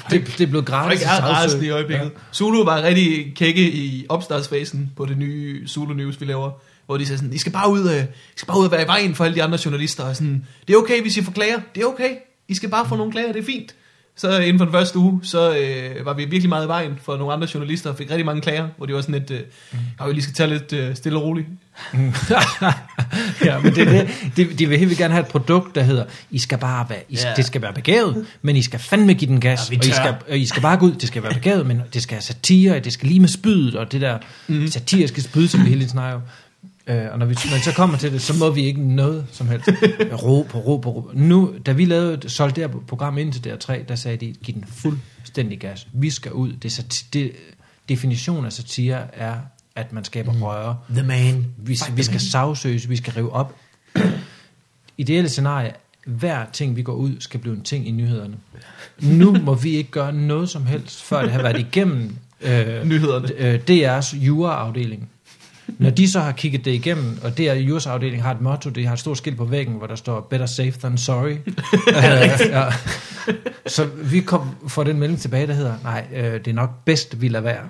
[SPEAKER 2] det, det blev
[SPEAKER 3] Folk
[SPEAKER 2] gratis at
[SPEAKER 3] er
[SPEAKER 2] sagsøge.
[SPEAKER 3] rasende i øjeblikket. Zulu var rigtig kække i opstartsfasen på det nye Zulu News, vi laver. Hvor de sagde sådan, I skal bare ud, øh, I skal bare ud og være i vejen for alle de andre journalister. Og sådan, det er okay, hvis I får klager. Det er okay. I skal bare få nogle klager, det er fint. Så øh, inden for den første uge, så øh, var vi virkelig meget i vejen for nogle andre journalister og fik rigtig mange klager, hvor de var sådan lidt, øh, "Nå, vi lige skal tage lidt øh, stille og roligt.
[SPEAKER 2] ja, men det, er det, de, de vil helt vildt gerne have et produkt, der hedder, I skal bare være, I,
[SPEAKER 1] Ja.
[SPEAKER 2] yeah. det skal være begavet, men I skal fandme give den gas,
[SPEAKER 1] Ja, vi
[SPEAKER 2] og I
[SPEAKER 1] tør.
[SPEAKER 2] skal, og I skal bare gå ud, det skal være begavet, men det skal have satire, det skal lige med spydet, og det der
[SPEAKER 1] Mhm.
[SPEAKER 2] mm. satiriske spyd, som vi hele tiden snakker om. Øh, og når vi når vi så kommer til det, så må vi ikke noget som helst. Ro på, ro på, ro. Nu, da vi lavede, solgte det her program ind til DR3, der sagde de, giv den fuldstændig gas. Vi skal ud. Det, er sati- det definition af satire er, at man skaber
[SPEAKER 1] Mhm.
[SPEAKER 2] mm. røre.
[SPEAKER 1] The man.
[SPEAKER 2] Vi, vi skal sagsøges, vi skal rive op. Ideelle scenarie, hver ting, vi går ud, skal blive en ting i nyhederne. Nu må vi ikke gøre noget som helst, før det har været igennem øh,
[SPEAKER 3] Nyhederne.
[SPEAKER 2] øh, DR's juraafdeling. Når de så har kigget det igennem, og DR Jurs afdeling har et motto, det har et stort skilt på væggen, hvor der står, better safe than sorry. øh, ja. Så vi kom, får den melding tilbage, der hedder, nej, øh, det er nok bedst, vi lader være.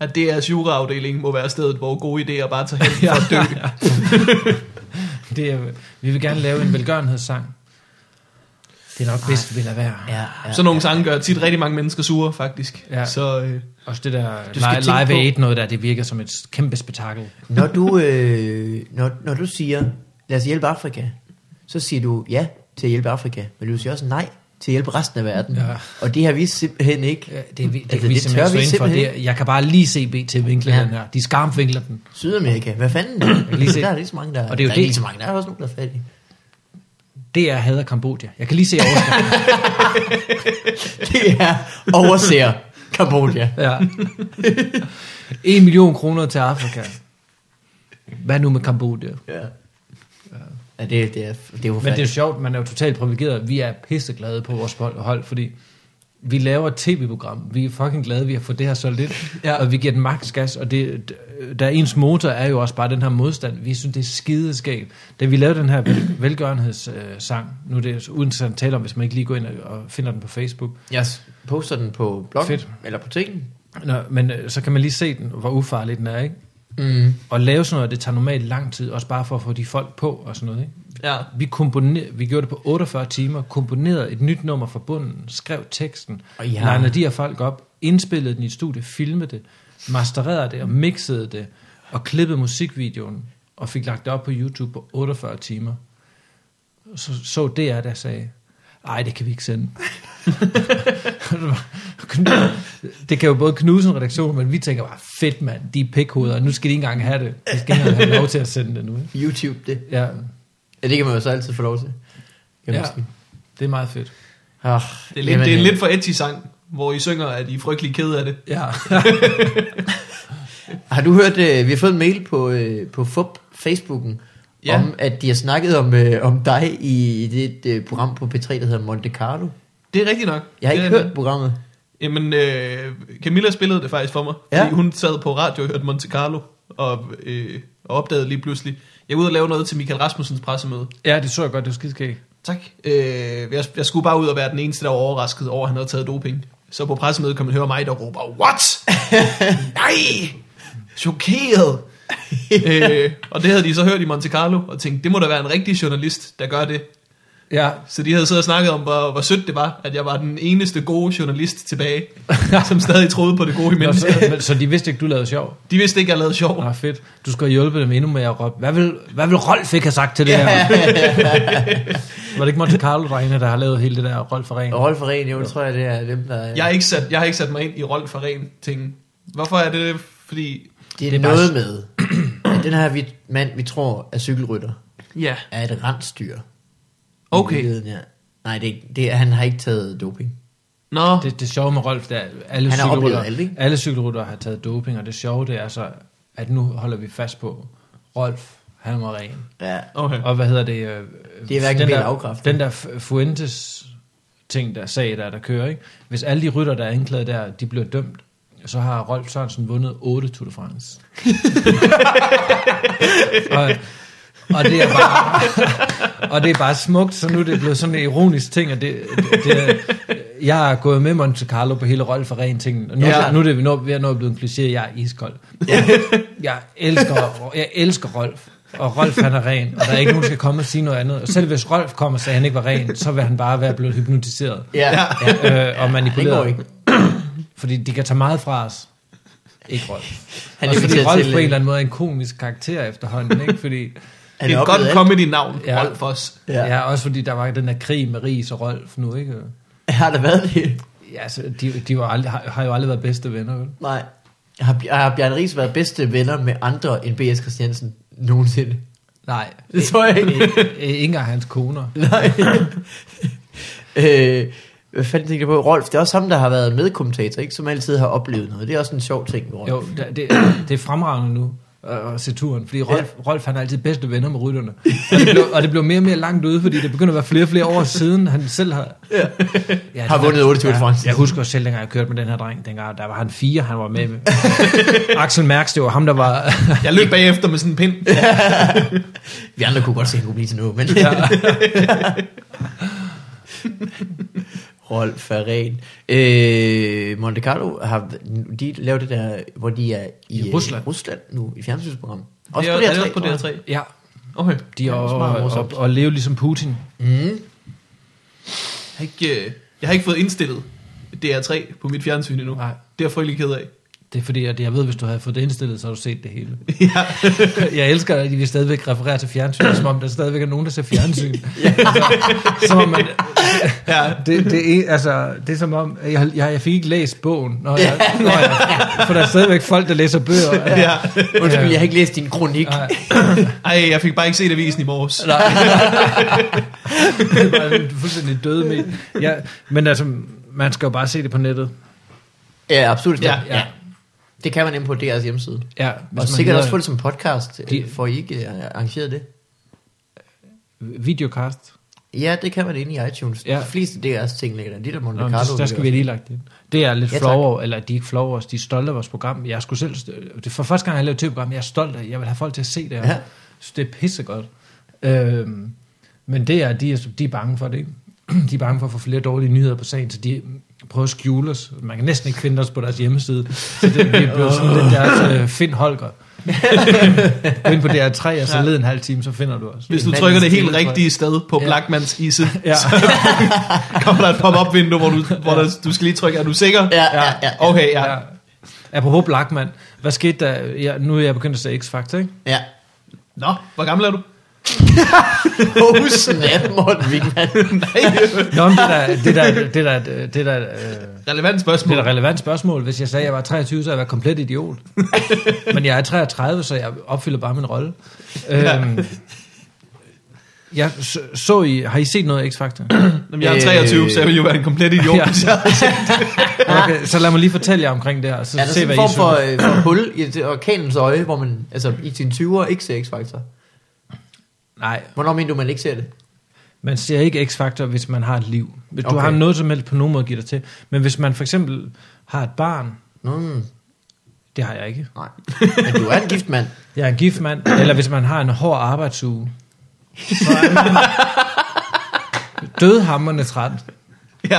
[SPEAKER 3] At DR's juraafdeling må være stedet, hvor gode idéer bare tager hen for at dø.
[SPEAKER 2] Det er, vi vil gerne lave en velgørenhedssang. Det er nok bedst, vi lader være.
[SPEAKER 1] Ja, ja.
[SPEAKER 3] Sådan nogle sange gør tit rigtig mange mennesker sure, faktisk.
[SPEAKER 2] Ja.
[SPEAKER 3] Så øh,
[SPEAKER 2] Også det der
[SPEAKER 1] Du skal
[SPEAKER 2] live,
[SPEAKER 1] tænke på-
[SPEAKER 2] live Aid noget der, det virker som et kæmpe spektakel.
[SPEAKER 1] Når du, øh, når, når du siger, lad os hjælpe Afrika, så siger du ja til at hjælpe Afrika, men du siger også nej til at hjælpe resten af verden.
[SPEAKER 2] Ja.
[SPEAKER 1] Og det har vi simpelthen ikke.
[SPEAKER 2] Ja, Det, det, det,
[SPEAKER 1] Altså,
[SPEAKER 2] kan vi
[SPEAKER 1] det tør
[SPEAKER 2] simpelthen stå
[SPEAKER 1] vi
[SPEAKER 2] ind for.
[SPEAKER 1] simpelthen.
[SPEAKER 2] Det, jeg kan bare lige se BT vinkle
[SPEAKER 1] Ja.
[SPEAKER 2] ja. den her. De skarmvinkler den.
[SPEAKER 1] Sydamerika, hvad fanden?
[SPEAKER 2] kan lige se-
[SPEAKER 1] der er lige så mange, der
[SPEAKER 2] Og det er jo
[SPEAKER 1] der er
[SPEAKER 2] det-
[SPEAKER 1] lige så mange, der er også nogen, der er fattige.
[SPEAKER 2] Det er hader Kambodja. Jeg kan lige se overskriften.
[SPEAKER 1] Det er overser Kambodja.
[SPEAKER 2] ja. En million kroner til Afrika. Hvad nu med Kambodja?
[SPEAKER 1] Ja. ja. Det, det, er, det er
[SPEAKER 2] Men det er jo
[SPEAKER 1] forfærdeligt.
[SPEAKER 2] sjovt, man er jo totalt privilegeret. Vi er pisseglade på vores hold- hold, fordi vi laver et tv-program. Vi er fucking glade, vi har fået det her så lidt.
[SPEAKER 3] Ja.
[SPEAKER 2] Ja. Og vi giver den maks gas. Og det, d- der er ens motor er jo også bare den her modstand. Vi synes, det er skideskab. Da vi lavede den her vel, velgørenhedssang, nu er det så uinteressant at tale om, hvis man ikke lige går ind og- og finder den på Facebook.
[SPEAKER 1] Jeg s- poster den på bloggen,
[SPEAKER 2] Fedt.
[SPEAKER 1] eller på tingen.
[SPEAKER 2] Nå, men øh, så kan man lige se den, hvor ufarlig den er, ikke?
[SPEAKER 1] Mm.
[SPEAKER 2] Og lave sådan noget, det tager normalt lang tid, også bare for at få de folk på og sådan noget, ikke?
[SPEAKER 3] Ja.
[SPEAKER 2] Vi, komponer, vi gjorde det på 48 timer, komponerede et nyt nummer fra bunden, skrev teksten,
[SPEAKER 1] Og I
[SPEAKER 2] ja.
[SPEAKER 1] har-
[SPEAKER 2] legnede de her folk op, indspillede den i et studie, filmede det, mastererede det og mixede det, og klippede musikvideoen, og fik lagt det op på YouTube på 48 timer. Så så DR, der sagde, nej, det kan vi ikke sende. det kan jo både knuse en redaktion, men vi tænker bare, fedt mand, de er pikhoveder, nu skal de ikke engang have det. De skal ikke engang have lov til at sende det nu. ikke?
[SPEAKER 1] YouTube det.
[SPEAKER 2] Ja,
[SPEAKER 1] Ja, det kan man jo så altid få lov til. Kan man
[SPEAKER 2] Ja.
[SPEAKER 1] sige.
[SPEAKER 2] Det er meget fedt.
[SPEAKER 1] Ah,
[SPEAKER 3] Det er, lidt, det er en lidt for edgy sang, hvor I synger, at I er frygtelig ked af det.
[SPEAKER 2] Ja.
[SPEAKER 1] Har du hørt, øh, vi har fået en mail på, øh, på FUP, Facebooken,
[SPEAKER 3] Ja.
[SPEAKER 1] ja. om at de har snakket om, øh, om dig i, i det øh, program på P3, der hedder Monte Carlo.
[SPEAKER 3] Det er rigtigt nok.
[SPEAKER 1] Jeg har
[SPEAKER 3] Det
[SPEAKER 1] ikke
[SPEAKER 3] er-
[SPEAKER 1] hørt programmet.
[SPEAKER 3] Jamen, øh, Camilla spillede det faktisk for mig. Ja.
[SPEAKER 1] Ja.
[SPEAKER 3] Fordi hun sad på radio og hørte Monte Carlo, og, øh, og opdagede lige pludselig, jeg er ude og lave noget til Michael Rasmussens pressemøde.
[SPEAKER 2] ja, det så jeg godt, det var skidskæg.
[SPEAKER 3] Tak. Øh, jeg, jeg skulle bare ud og være den eneste, der var overrasket over, at han havde taget doping. Så på pressemødet kan man høre mig, der råber, What? Nej! Chokeret! øh, og det havde de så hørt i Monte Carlo, og tænkte, det må da være en rigtig journalist, der gør det.
[SPEAKER 2] Ja.
[SPEAKER 3] Så de havde siddet og snakket om, hvor, hvor sødt det var, at jeg var den eneste gode journalist tilbage, som stadig troede på det gode i
[SPEAKER 2] Nå, så,
[SPEAKER 3] mennesker.
[SPEAKER 2] men, så de vidste ikke, du lavede sjov?
[SPEAKER 3] De vidste ikke, jeg lavede sjov.
[SPEAKER 2] Nå, fedt. Du skal have hjulpet dem endnu med at råbe. Hvad vil, hvad vil Rolf ikke have sagt til det her? Var det ikke Monte carlo drengene der har lavet hele det der Rolf og Ren?
[SPEAKER 1] Og Rolf og Ren, jo, det tror jeg, det er dem, der...
[SPEAKER 3] Jeg har ikke sat, jeg har ikke sat mig ind i Rolf for ren ting. Hvorfor er det? Fordi...
[SPEAKER 1] det er,
[SPEAKER 2] det er
[SPEAKER 1] noget med, at den her vi, mand, vi tror er cykelrytter,
[SPEAKER 3] Ja.
[SPEAKER 1] er et rensdyr. I
[SPEAKER 3] Okay.
[SPEAKER 1] virkeligheden, Ja. Nej, det, er ikke- det, er- han har ikke taget doping.
[SPEAKER 3] Nå,
[SPEAKER 2] Det, det sjove med Rolf, det er, at alle
[SPEAKER 1] Han har oplevet
[SPEAKER 2] cykelrytter,
[SPEAKER 1] alt, ikke?
[SPEAKER 2] alle cykelrytter har taget doping, og det sjove, det er så, at nu holder vi fast på Rolf, han var ren.
[SPEAKER 1] Ja.
[SPEAKER 3] okay.
[SPEAKER 2] Og hvad hedder det? Øh,
[SPEAKER 1] Det er hverken ben
[SPEAKER 2] den der,
[SPEAKER 1] eller afkræft.
[SPEAKER 2] Den der F- Fuentes ting, der sag, der, der kører, ikke? Hvis alle de rytter, der er anklaget der, de bliver dømt, så har Rolf Sørensen vundet 8 Tour de France. og, og, det er bare, og det er bare smukt, så nu er det blevet sådan en ironisk ting, og det, det, det er- jeg har gået med Monte Carlo på hele Rolf og Ren tingen, og nu,
[SPEAKER 1] Ja.
[SPEAKER 2] ja. nu er det nu, ved at nå at blive en kliché, jeg er iskold. Jeg elsker, jeg elsker Rolf, og Rolf han er ren, og der er ikke nogen, der skal komme og sige noget andet. Og selv hvis Rolf kommer og sagde, at han ikke var ren, så vil han bare være blevet hypnotiseret
[SPEAKER 1] Ja. ja.
[SPEAKER 2] øh, og manipuleret.
[SPEAKER 1] går ikke.
[SPEAKER 2] Fordi de kan tage meget fra os. Ikke Rolf.
[SPEAKER 1] Han
[SPEAKER 2] Han er fordi
[SPEAKER 1] inviterer
[SPEAKER 2] Rolf
[SPEAKER 1] til,
[SPEAKER 2] på en
[SPEAKER 1] øh,
[SPEAKER 2] eller anden måde er en komisk karakter efterhånden, ikke? Fordi,
[SPEAKER 1] Han
[SPEAKER 3] det er
[SPEAKER 1] er
[SPEAKER 3] et godt
[SPEAKER 1] oplevet alt.
[SPEAKER 3] comedy-navn,
[SPEAKER 2] Ja.
[SPEAKER 3] Rolf os.
[SPEAKER 1] Ja.
[SPEAKER 2] ja. ja, også fordi der var den der krig med Ries og Rolf nu, ikke?
[SPEAKER 1] Har der været det?
[SPEAKER 2] Ja, altså, de, de var aldrig, har, har jo aldrig været bedste venner, vel?
[SPEAKER 1] Nej. Har, Bj- har Bjarne Ries været bedste venner med andre end B.S. Christiansen nogensinde?
[SPEAKER 2] Nej.
[SPEAKER 1] Det tror jeg ikke.
[SPEAKER 2] Øh, Ikke engang hans koner.
[SPEAKER 1] Nej. øh, hvad fanden tænkte jeg på? Rolf, det er også ham, der har været medkommentator, ikke? som altid har oplevet noget. Det er også en sjov ting med Rolf.
[SPEAKER 2] Jo, der- det, det er fremragende nu øh, at se turen, fordi Rolf, ja. Rolf han er altid bedste venner med rytterne. Og det, blev, og det blev mere og mere langt ude, fordi det begynder at være flere og flere år siden, han selv har... Ja. Ja,
[SPEAKER 1] Har vundet otte Tour de France.
[SPEAKER 2] Jeg husker også selv, dengang jeg kørte med den her dreng, dengang der var han fire, han var med med. Axel Mærks, det var ham, der var...
[SPEAKER 3] Jeg løb bagefter med sådan en pind.
[SPEAKER 1] Vi andre kunne godt se, at han kunne blive til noget, men...
[SPEAKER 2] Ja.
[SPEAKER 1] Rolf er ren. Øh, Monte Carlo har... De laver det der, hvor de er i,
[SPEAKER 2] I Rusland.
[SPEAKER 1] øh, Rusland nu, i fjernsynsprogram.
[SPEAKER 3] Det er- er det også på
[SPEAKER 1] tror jeg.
[SPEAKER 3] DR3.
[SPEAKER 2] ja.
[SPEAKER 3] Okay.
[SPEAKER 2] De
[SPEAKER 1] Ja, det
[SPEAKER 2] er
[SPEAKER 1] er
[SPEAKER 2] og,
[SPEAKER 1] smart,
[SPEAKER 2] og,
[SPEAKER 1] morsomt.
[SPEAKER 2] og leve ligesom Putin.
[SPEAKER 1] Mm.
[SPEAKER 3] Jeg har ikke, øh, jeg har ikke fået indstillet DR3 på mit fjernsyn endnu.
[SPEAKER 2] Nej.
[SPEAKER 3] Det er jeg frygtelig ked af.
[SPEAKER 2] Det er fordi, at jeg ved, hvis du havde fået det indstillet, så havde du set det hele.
[SPEAKER 3] ja.
[SPEAKER 2] Jeg elsker, at vi stadigvæk refererer til fjernsyn, som om der stadigvæk er nogen, der ser fjernsyn. som, om man,
[SPEAKER 3] Ja.
[SPEAKER 2] Det, det, er, altså, det er som om, at jeg, jeg, jeg fik ikke læst bogen, når jeg, når jeg, for der er stadigvæk folk, der læser bøger. Ja.
[SPEAKER 3] ja.
[SPEAKER 1] Undskyld,
[SPEAKER 2] Ja.
[SPEAKER 1] jeg har ikke læst din kronik.
[SPEAKER 2] Nej,
[SPEAKER 3] Ej, jeg fik bare ikke set avisen i morges.
[SPEAKER 2] det var sådan fuldstændig døde med. Ja, men altså, man skal jo bare se det på nettet.
[SPEAKER 1] Ja, absolut.
[SPEAKER 3] Ja,
[SPEAKER 1] Ja,
[SPEAKER 2] ja.
[SPEAKER 1] ja. Det kan man inde på DR's hjemmeside.
[SPEAKER 2] Ja,
[SPEAKER 1] Hvis og sikkert
[SPEAKER 2] hedder
[SPEAKER 1] også få det som podcast.
[SPEAKER 2] De-
[SPEAKER 1] De... Får I ikke øh, arrangeret det?
[SPEAKER 2] Videocast.
[SPEAKER 1] Ja, det kan man inde i iTunes.
[SPEAKER 2] Ja.
[SPEAKER 1] Ja. De fleste DR's ting ligger der. De der Monte
[SPEAKER 2] Nå, men
[SPEAKER 1] Carlo.
[SPEAKER 2] der, der skal vi
[SPEAKER 1] ligger
[SPEAKER 2] lige lagt det. Det er jeg lidt
[SPEAKER 1] Ja,
[SPEAKER 2] ja,
[SPEAKER 1] tak.
[SPEAKER 2] flov over, eller de er ikke flov over os, de er stolte af vores program. Jeg skulle selv, det er for første gang, jeg har lavet et program, jeg er stolt af, jeg vil have folk til at se det. Ja.
[SPEAKER 1] Ja.
[SPEAKER 2] Så det er pissegodt. Øhm, men det er, de er, de er bange for det, ikke? De er bange for at få flere dårlige nyheder på sagen, så de prøver at skjule os. Man kan næsten ikke finde os på deres hjemmeside. Så det, det bliver sådan lidt deres øh, Find Holger. Gå ind på DR3, og så
[SPEAKER 3] Ja.
[SPEAKER 2] led en halv time, så finder du os.
[SPEAKER 3] Hvis du
[SPEAKER 1] En
[SPEAKER 3] trykker det
[SPEAKER 1] mand i
[SPEAKER 3] helt
[SPEAKER 1] stil, tror
[SPEAKER 3] rigtige sted på
[SPEAKER 2] Ja.
[SPEAKER 3] Blackmans isse,
[SPEAKER 2] Ja.
[SPEAKER 3] kommer der et pop-up vindue, hvor, du, hvor der, du skal lige trykke, er du sikker?
[SPEAKER 1] der. Ja, ja, ja. ja.
[SPEAKER 3] Okay, ja.
[SPEAKER 2] Ja. Apropos Blackman, hvad skete der? Ja, nu er jeg begyndt at se X-Factor, ikke?
[SPEAKER 1] ja.
[SPEAKER 3] Nå, hvor gammel er du?
[SPEAKER 1] Oh, snap, Morten Wigman.
[SPEAKER 3] Nej,
[SPEAKER 2] Nå, men det er da- det er da- det er da- det er da, øh,
[SPEAKER 3] relevant
[SPEAKER 2] det
[SPEAKER 3] spørgsmål.
[SPEAKER 2] er da et relevant spørgsmål. Hvis jeg sagde, at jeg var 23, så havde jeg været komplet idiot. Men jeg er 33, så jeg opfylder bare min rolle. Øhm, jeg så, så I, har I set noget af X-Factor?
[SPEAKER 3] Jamen, jeg er 23, så jeg vil jo være en komplet idiot,
[SPEAKER 2] Ja.
[SPEAKER 3] ja. hvis jeg
[SPEAKER 2] Okay, så lad mig lige fortælle jer omkring det her, og så
[SPEAKER 1] Ja, der er
[SPEAKER 2] se,
[SPEAKER 1] sådan
[SPEAKER 2] hvad
[SPEAKER 1] en
[SPEAKER 2] I
[SPEAKER 1] form
[SPEAKER 2] synes.
[SPEAKER 1] for, øh, for hul i et orkanens øje, hvor man altså, i sin 20'er ikke ser X-Factor.
[SPEAKER 2] Nej,
[SPEAKER 1] Hvornår mener du, man ikke ser det?
[SPEAKER 2] Man ser ikke X-faktor, hvis man har et liv. Hvis okay. du
[SPEAKER 1] Okay.
[SPEAKER 2] har noget som helst på nogen måde at give dig til. Men hvis man for eksempel har et barn,
[SPEAKER 1] Mm,
[SPEAKER 2] det har jeg ikke.
[SPEAKER 1] nej. Men du er en gift mand.
[SPEAKER 2] Jeg er en gift mand, eller hvis man har en hård arbejdsuge. Så er man dødhammerne træt,
[SPEAKER 3] Ja.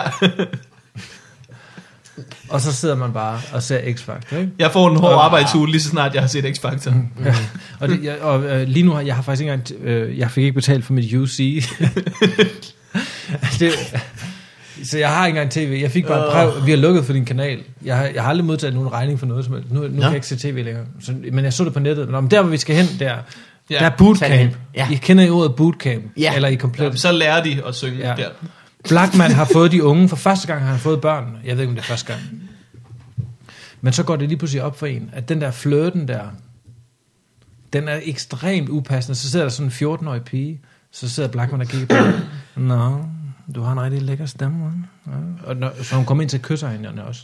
[SPEAKER 2] og så sidder man bare og ser X-Factor. Ikke?
[SPEAKER 3] Jeg får en hård
[SPEAKER 2] Ah.
[SPEAKER 3] arbejdsuge lige så snart, jeg har set X-Factor.
[SPEAKER 1] Mm.
[SPEAKER 2] Ja. Og, det, jeg, og øh, lige nu har jeg har faktisk ikke engang, øh, jeg fik ikke betalt for mit UC. det, så jeg har ikke engang tv. Jeg fik bare et brev. Vi har lukket for din kanal. Jeg har, jeg har aldrig modtaget nogen regning for noget som helst. Nu, nu kan jeg ikke se tv længere. Så, men jeg så det på nettet. Nå, men der, hvor vi skal hen, der,
[SPEAKER 3] Ja.
[SPEAKER 2] ja, der er bootcamp.
[SPEAKER 1] Fandme. Ja.
[SPEAKER 2] I kender jo ordet bootcamp.
[SPEAKER 1] Ja.
[SPEAKER 2] Eller i komplet.
[SPEAKER 3] Så lærer de at synge
[SPEAKER 2] Ja.
[SPEAKER 3] ja. der.
[SPEAKER 2] Blackman har fået de unge. For første gang har han fået børn. Jeg ved ikke, om det er første gang. Men så går det lige pludselig op for en, at den der flirten der, den er ekstremt upassende. Så sidder der sådan en 14-årig pige, så sidder Blackman og kigger på hende. Nå, du har en rigtig lækker stemme, hva'? ja. og når, Så hun kommer ind til at kysse hende også.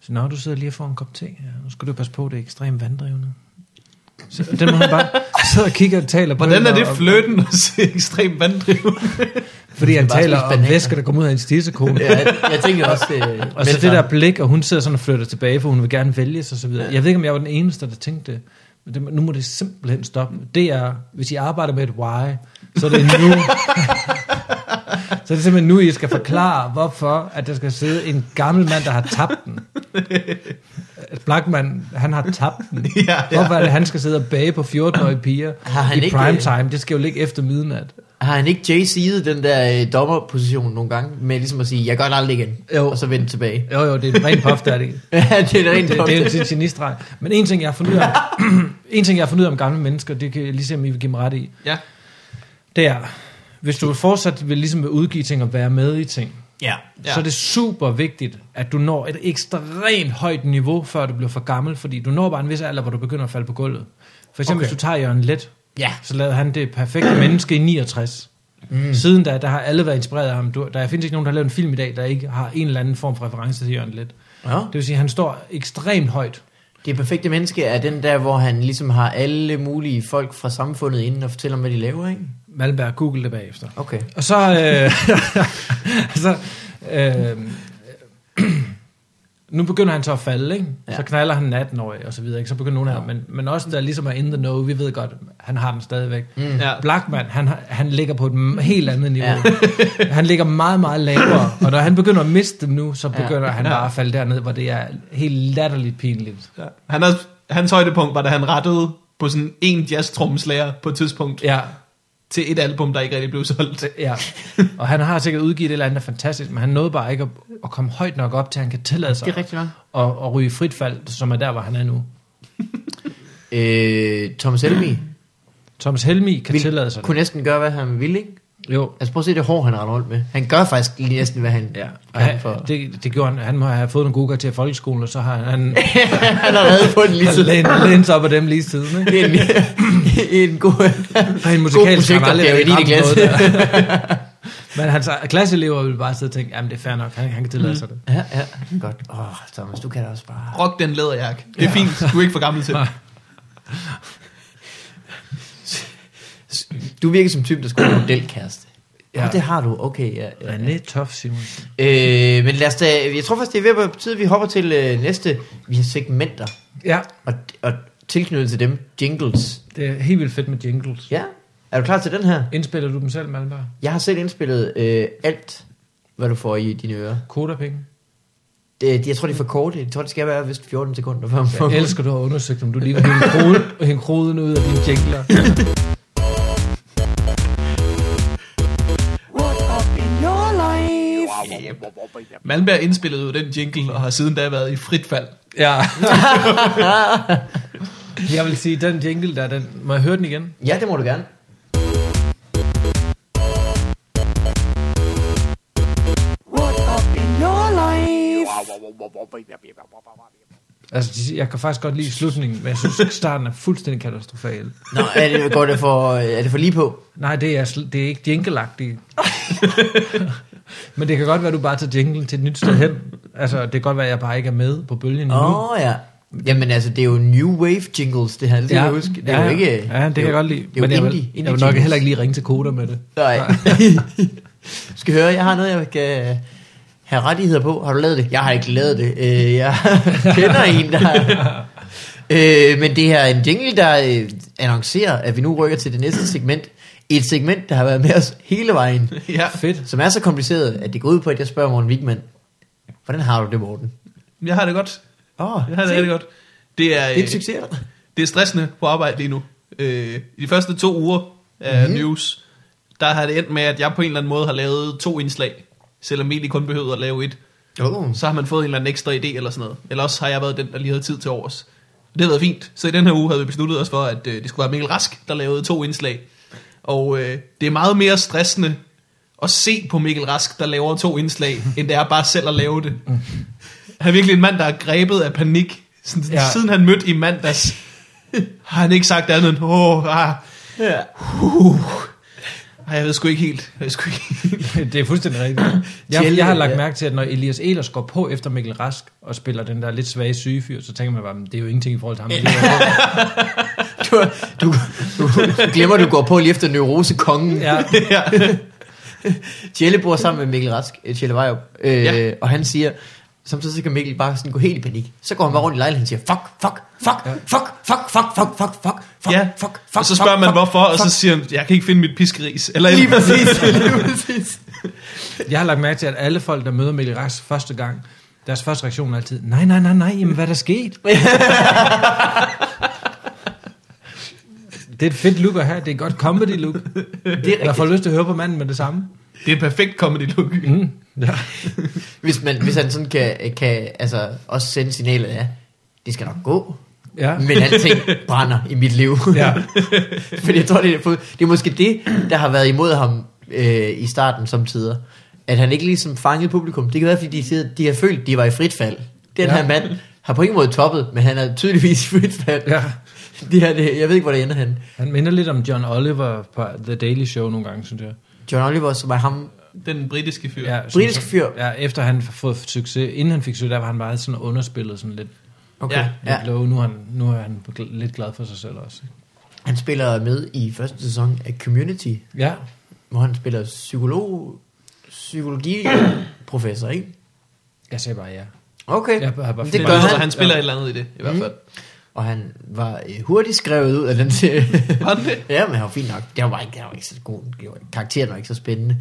[SPEAKER 2] Så nå, du sidder lige og får en kop te. Ja, nu skal du passe på, det er ekstremt vanddrivende. Så den må han bare sidde og kigge og tale på.
[SPEAKER 3] Hvordan
[SPEAKER 2] hende,
[SPEAKER 3] er det
[SPEAKER 2] og-
[SPEAKER 3] fløten at se ekstremt vanddrivende?
[SPEAKER 2] Fordi han
[SPEAKER 1] Bare
[SPEAKER 2] taler
[SPEAKER 1] spise
[SPEAKER 2] om
[SPEAKER 1] bananer.
[SPEAKER 2] væsker, der kommer ud af en stissekone.
[SPEAKER 1] Ja, jeg tænker også... Øh,
[SPEAKER 2] Og så det der blik, og hun sidder sådan og flytter tilbage, for hun vil gerne vælges og så videre. Jeg ved ikke, om jeg var den eneste, der tænkte det. Men det, nu må det simpelthen stoppe. Det er, hvis I arbejder med et why, så er det nu. så er det simpelthen nu, I skal forklare, hvorfor at der skal sidde en gammel mand, der har tabt den. At Blackman, han har tabt den.
[SPEAKER 3] ja, ja.
[SPEAKER 2] Hvorfor er det, han skal sidde og bage på 14-årige piger
[SPEAKER 1] Har han
[SPEAKER 2] i
[SPEAKER 1] ikke-
[SPEAKER 2] primetime? Det skal jo ligge efter midnat.
[SPEAKER 1] Har han ikke Jay-Z'et den der øh, dommerposition nogle gange, med ligesom at sige, jeg gør det aldrig igen,
[SPEAKER 2] Jo.
[SPEAKER 1] jo. og så vende tilbage?
[SPEAKER 2] Jo, jo, det er en ren puff, der er det.
[SPEAKER 1] ja, det er rent
[SPEAKER 2] det, det, er-
[SPEAKER 1] det,
[SPEAKER 2] det er en genistreg. Men en ting, jeg har fundet ud af, en ting, jeg har fundet ud af om gamle mennesker, det kan jeg lige se, om I vil give mig ret i,
[SPEAKER 3] Ja.
[SPEAKER 2] det er, hvis du fortsat vil, ligesom vil udgive ting og være med i ting,
[SPEAKER 1] Ja.
[SPEAKER 2] ja. så er det super vigtigt, at du når et ekstremt højt niveau, før du bliver for gammel, fordi du når bare en vis alder, hvor du begynder at falde på gulvet. For eksempel, okay.
[SPEAKER 1] Okay.
[SPEAKER 2] hvis du tager Jørgen Let,
[SPEAKER 1] Ja.
[SPEAKER 2] så lavede han det perfekte menneske i 69. Mm. Siden da, der har alle været inspireret af ham. Du, der findes ikke nogen, der har lavet en film i dag, der ikke har en eller anden form for reference til Jørgen Let.
[SPEAKER 1] ja.
[SPEAKER 2] Det vil sige, at han står ekstremt højt.
[SPEAKER 1] Det perfekte menneske er den der, hvor han ligesom har alle mulige folk fra samfundet inden og fortæller om, hvad de laver, ikke?
[SPEAKER 2] Malberg, google det bagefter.
[SPEAKER 1] Okay.
[SPEAKER 2] Og så... Øh, så øh, nu begynder han så at falde, ikke? Ja. Så
[SPEAKER 1] Ja.
[SPEAKER 2] knalder han 18 år og så videre, ikke? Så begynder nogen af dem, men, men også der ligesom er in the know, vi ved godt, han har den stadigvæk. Mm.
[SPEAKER 3] Ja.
[SPEAKER 2] Blackman, han, har- han ligger på et m- helt andet niveau.
[SPEAKER 1] Ja.
[SPEAKER 2] Ja. han ligger meget, meget lavere, og når han begynder at miste dem nu, så
[SPEAKER 1] Ja.
[SPEAKER 2] begynder ja. han
[SPEAKER 3] Ja.
[SPEAKER 2] bare at falde derned, hvor det er helt latterligt pinligt.
[SPEAKER 3] Ja. Han er, hans højdepunkt var, da han rettede på sådan en jazz-trommeslager på et tidspunkt ja.
[SPEAKER 2] Ja,
[SPEAKER 3] til et album, der ikke rigtig blev solgt.
[SPEAKER 2] Ja, og han har sikkert udgivet et eller andet der er fantastisk, men han nåede bare ikke at, at komme højt nok op til, at han kan tillade sig
[SPEAKER 1] Det er rigtigt nok.
[SPEAKER 2] og, og ryge i frit fald, som er der, hvor han er nu.
[SPEAKER 1] Øh, Thomas Helmi Øh,
[SPEAKER 2] Thomas Helmi kan Vil, tillade sig det.
[SPEAKER 1] kunne næsten gøre, hvad han ville, ikke?
[SPEAKER 2] Jo,
[SPEAKER 1] Altså prøv at se det hår, han render rundt med. Han gør faktisk lige næsten, hvad han
[SPEAKER 2] ja. Og
[SPEAKER 1] kan
[SPEAKER 2] han,
[SPEAKER 1] for. Det,
[SPEAKER 2] det, det gjorde han. Han må have fået nogle gode til folkeskolen, og så har han,
[SPEAKER 1] han har reddet på den lige
[SPEAKER 2] han
[SPEAKER 1] siden.
[SPEAKER 2] lænet, lænet sig op af dem lige siden. Ikke?
[SPEAKER 1] Det er en, en god,
[SPEAKER 2] Og
[SPEAKER 1] god
[SPEAKER 2] en musikalsk har aldrig
[SPEAKER 1] musikopgave i
[SPEAKER 2] været
[SPEAKER 1] din
[SPEAKER 2] ramt noget
[SPEAKER 1] klasse.
[SPEAKER 2] der. Men hans øh, klasseelever vil bare sidde og tænke, jamen det er fair nok, han, han kan tillade sig det.
[SPEAKER 1] Ja, ja. Godt. Åh, oh, Thomas, du kan da også bare...
[SPEAKER 3] Rock den læderjakke. Det er fint. Du er ikke for gammel til det.
[SPEAKER 2] Nej.
[SPEAKER 1] Du virker som typen, der skulle have en modelkæreste. Ja.
[SPEAKER 2] Ja.
[SPEAKER 1] Oh, det har du. Okay, ja. ja.
[SPEAKER 2] René Tof Simonsen.
[SPEAKER 1] Øh, men lad os da... Jeg tror faktisk, det er ved at være på tide, vi hopper til øh, næste... Vi har segmenter.
[SPEAKER 2] Ja,
[SPEAKER 1] Og, og tilknyttet til dem, jingles.
[SPEAKER 2] det er helt vildt fedt med jingles.
[SPEAKER 1] Ja. Er du klar til den her?
[SPEAKER 2] Indspiller du dem selv, Malmberg?
[SPEAKER 1] Jeg har selv indspillet øh, alt, hvad du får i dine ører.
[SPEAKER 2] Kodapenge?
[SPEAKER 1] Det, jeg tror, de er for korte. Jeg tror, det skal være vist 14 sekunder. For for-
[SPEAKER 2] Jeg elsker, du har undersøgt, om du lige kunne hænge kroden, hænge kroden ud af dine jingler.
[SPEAKER 3] Malmberg indspillede jo den jingle, og har siden da været i frit fald.
[SPEAKER 2] Ja. jeg vil sige, den jingle der, den, må jeg høre den igen?
[SPEAKER 1] Ja, det må du gerne.
[SPEAKER 2] Altså, de- jeg kan faktisk godt lide slutningen, men jeg synes, starten er fuldstændig katastrofal.
[SPEAKER 1] Nå, er det, går det for, er det for lige på?
[SPEAKER 2] Nej, det er, sl- det er ikke jingleagtigt. Men det kan godt være, at du bare tager jinglen til et nyt sted hen. Altså, det kan godt være, at jeg bare ikke er med på bølgen endnu.
[SPEAKER 1] Åh, oh, ja. Jamen altså, det er jo New Wave jingles, det her. Det skal ja. huske. Det er
[SPEAKER 2] ja,
[SPEAKER 1] jo ikke...
[SPEAKER 2] Ja, det,
[SPEAKER 1] er
[SPEAKER 2] kan
[SPEAKER 1] jo-
[SPEAKER 2] jeg godt lide.
[SPEAKER 1] Det er jo
[SPEAKER 2] jeg,
[SPEAKER 1] indie,
[SPEAKER 2] vil,
[SPEAKER 1] indie
[SPEAKER 2] jeg vil nok
[SPEAKER 1] jingles.
[SPEAKER 2] heller ikke lige ringe til Koda med det.
[SPEAKER 1] Nej. skal høre, jeg har noget, jeg kan have rettigheder på. Har du lavet det? Jeg har ikke lavet det. Øh, jeg kender en, der... Øh, men det her er en jingle, der øh, annoncerer, at vi nu rykker til det næste segment. Et segment, der har været med os hele vejen.
[SPEAKER 3] Ja.
[SPEAKER 2] Fedt.
[SPEAKER 1] Som er så kompliceret, at det går ud på, at jeg spørger Morten Wigman. Hvordan har du det, Morten?
[SPEAKER 3] Jeg har det godt.
[SPEAKER 1] Åh, oh,
[SPEAKER 3] Jeg har det rigtig godt. Det er,
[SPEAKER 1] Det er
[SPEAKER 3] øh,
[SPEAKER 1] et succes, eller?
[SPEAKER 3] det er stressende på arbejde lige nu. Øh, I de første to uger af
[SPEAKER 1] Mhm.
[SPEAKER 3] mm-hmm. news, der har det endt med, at jeg på en eller anden måde har lavet to indslag, selvom jeg egentlig kun behøvede at lave et.
[SPEAKER 1] Oh.
[SPEAKER 3] Så har man fået en eller anden ekstra idé eller sådan noget. Eller også har jeg været den, der lige havde tid til overs. Det har været fint. Så i den her uge havde vi besluttet os for, at øh, det skulle være Mikkel Rask, der lavede to indslag. Og øh, det er meget mere stressende at se på Mikkel Rask, der laver to indslag, end det er bare selv at lave det. Han er virkelig en mand, der er grebet af panik. Sådan, ja.
[SPEAKER 2] Ja.
[SPEAKER 3] Siden han mødte i mandags, har han ikke sagt andet end, åh, ah,
[SPEAKER 1] Ja.
[SPEAKER 3] uh, ah, jeg ved sgu ikke helt. Jeg ved sgu ikke.
[SPEAKER 2] det er fuldstændig rigtigt. Jeg,
[SPEAKER 1] Tjelle,
[SPEAKER 2] jeg har lagt
[SPEAKER 1] ja.
[SPEAKER 2] mærke til, at når Elias Ehlers går på efter Mikkel Rask og spiller den der lidt svage sygefyr, så tænker man bare, "Men det er jo ingenting i forhold til ham. Det er jo-
[SPEAKER 1] Du, du, du, du glemmer, du går på lige efter neurosekongen. Ja.
[SPEAKER 2] Ja,
[SPEAKER 3] ja.
[SPEAKER 1] Tjelle bor sammen med Mikkel Rask, øh, Tjelle Vejrup, øh, ja.
[SPEAKER 3] Ja.
[SPEAKER 1] og han siger, samtidig så kan Mikkel bare sådan gå helt i panik. Så går han bare rundt i lejligheden og siger, fuck, fuck, fuck, fuck, fuck, fuck, fuck, fuck, fuck, fuck,
[SPEAKER 3] ja.
[SPEAKER 1] fuck, fuck,
[SPEAKER 3] og så spørger
[SPEAKER 1] fuck,
[SPEAKER 3] man
[SPEAKER 1] fuck,
[SPEAKER 3] hvorfor, og så
[SPEAKER 1] fuck."
[SPEAKER 3] siger han, jeg kan ikke finde mit piskeris. Eller
[SPEAKER 1] Lige præcis, lige præcis.
[SPEAKER 2] jeg har lagt mærke til, at alle folk, der møder Mikkel Rask første gang, deres første reaktion er altid, nej, nej, nej, nej, jamen hvad er der sket? det er et fedt look at have, det er et godt comedy look.
[SPEAKER 1] Det er
[SPEAKER 2] Jeg får
[SPEAKER 1] rigtigt.
[SPEAKER 2] lyst til at høre på manden med det samme.
[SPEAKER 3] Det er et perfekt comedy look.
[SPEAKER 2] Mm. Ja.
[SPEAKER 1] Hvis, man, hvis han sådan kan, kan altså, også sende signalet af, det skal nok gå,
[SPEAKER 2] Ja.
[SPEAKER 1] men alting brænder i mit liv.
[SPEAKER 2] Ja.
[SPEAKER 1] Fordi jeg tror, det er, på- det er måske det, der har været imod ham øh, i starten samtidig. At han ikke ligesom fangede publikum. Det kan være, fordi de, sidder, de har følt, de var i frit fald. Den
[SPEAKER 2] Ja.
[SPEAKER 1] ja. her mand har på ingen måde toppet, men han er tydeligvis i frit fald.
[SPEAKER 2] Ja.
[SPEAKER 1] Det her, det, jeg ved ikke, hvor det ender han.
[SPEAKER 2] Han minder lidt om John Oliver på The Daily Show nogle gange, synes jeg.
[SPEAKER 1] John Oliver, som er ham.
[SPEAKER 3] Den britiske fyr.
[SPEAKER 2] Ja, som-
[SPEAKER 1] Britisk
[SPEAKER 2] som-
[SPEAKER 1] fyr.
[SPEAKER 2] Ja, efter han har fået succes. Inden han fik succes, der var han meget sådan underspillet sådan lidt.
[SPEAKER 1] Okay.
[SPEAKER 3] Ja,
[SPEAKER 2] Ja. Lidt low. Nu, er han, nu er han gl- lidt glad for sig selv også. ikke?
[SPEAKER 1] Han spiller med i første sæson af Community,
[SPEAKER 2] Ja,
[SPEAKER 1] hvor han spiller psykolog, psykologiprofessor, ikke?
[SPEAKER 2] jeg sagde bare ja.
[SPEAKER 1] Okay.
[SPEAKER 2] Jeg har bare
[SPEAKER 1] Men
[SPEAKER 2] flere-
[SPEAKER 1] gør
[SPEAKER 3] han,
[SPEAKER 1] han.
[SPEAKER 3] Altså, han spiller et eller andet i det, i hvert
[SPEAKER 1] Mm.
[SPEAKER 3] fald.
[SPEAKER 1] Og han var øh, hurtigt skrevet ud af den serie.
[SPEAKER 3] Var han det?
[SPEAKER 1] Ja, men han var fint nok. Det var bare ikke, han var ikke så god. Det var- Karakteren var ikke så spændende.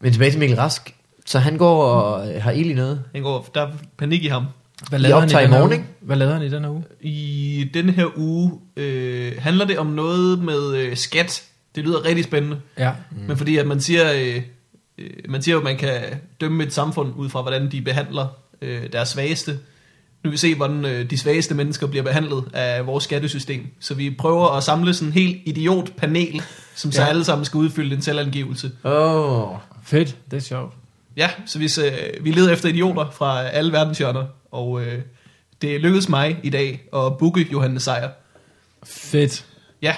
[SPEAKER 1] Men tilbage til Mikkel Rask. Så han går og øh, har ild i noget.
[SPEAKER 3] Han går, der er panik i ham.
[SPEAKER 2] Hvad
[SPEAKER 1] I
[SPEAKER 2] lavede han
[SPEAKER 1] optager i
[SPEAKER 2] den her
[SPEAKER 1] morgen,
[SPEAKER 2] uge? Hvad lavede han i den her uge?
[SPEAKER 3] I den her uge øh, handler det om noget med øh, skat. Det lyder rigtig spændende.
[SPEAKER 2] Ja.
[SPEAKER 3] Mm. Men fordi at man siger, øh, øh, man siger jo, at man kan dømme et samfund ud fra, hvordan de behandler øh, deres svageste. Nu vil vi se, hvordan øh, de svageste mennesker bliver behandlet af vores skattesystem. Så vi prøver at samle sådan en helt idiot panel, som ja. så
[SPEAKER 2] Ja.
[SPEAKER 3] alle sammen skal udfylde en selvangivelse.
[SPEAKER 1] Åh, oh,
[SPEAKER 2] Fedt, det er sjovt.
[SPEAKER 3] Ja, så hvis, øh, vi leder efter idioter fra alle verdenshjørner, og øh, det lykkedes mig i dag at booke Johannes Sejer.
[SPEAKER 2] Fedt.
[SPEAKER 3] Ja,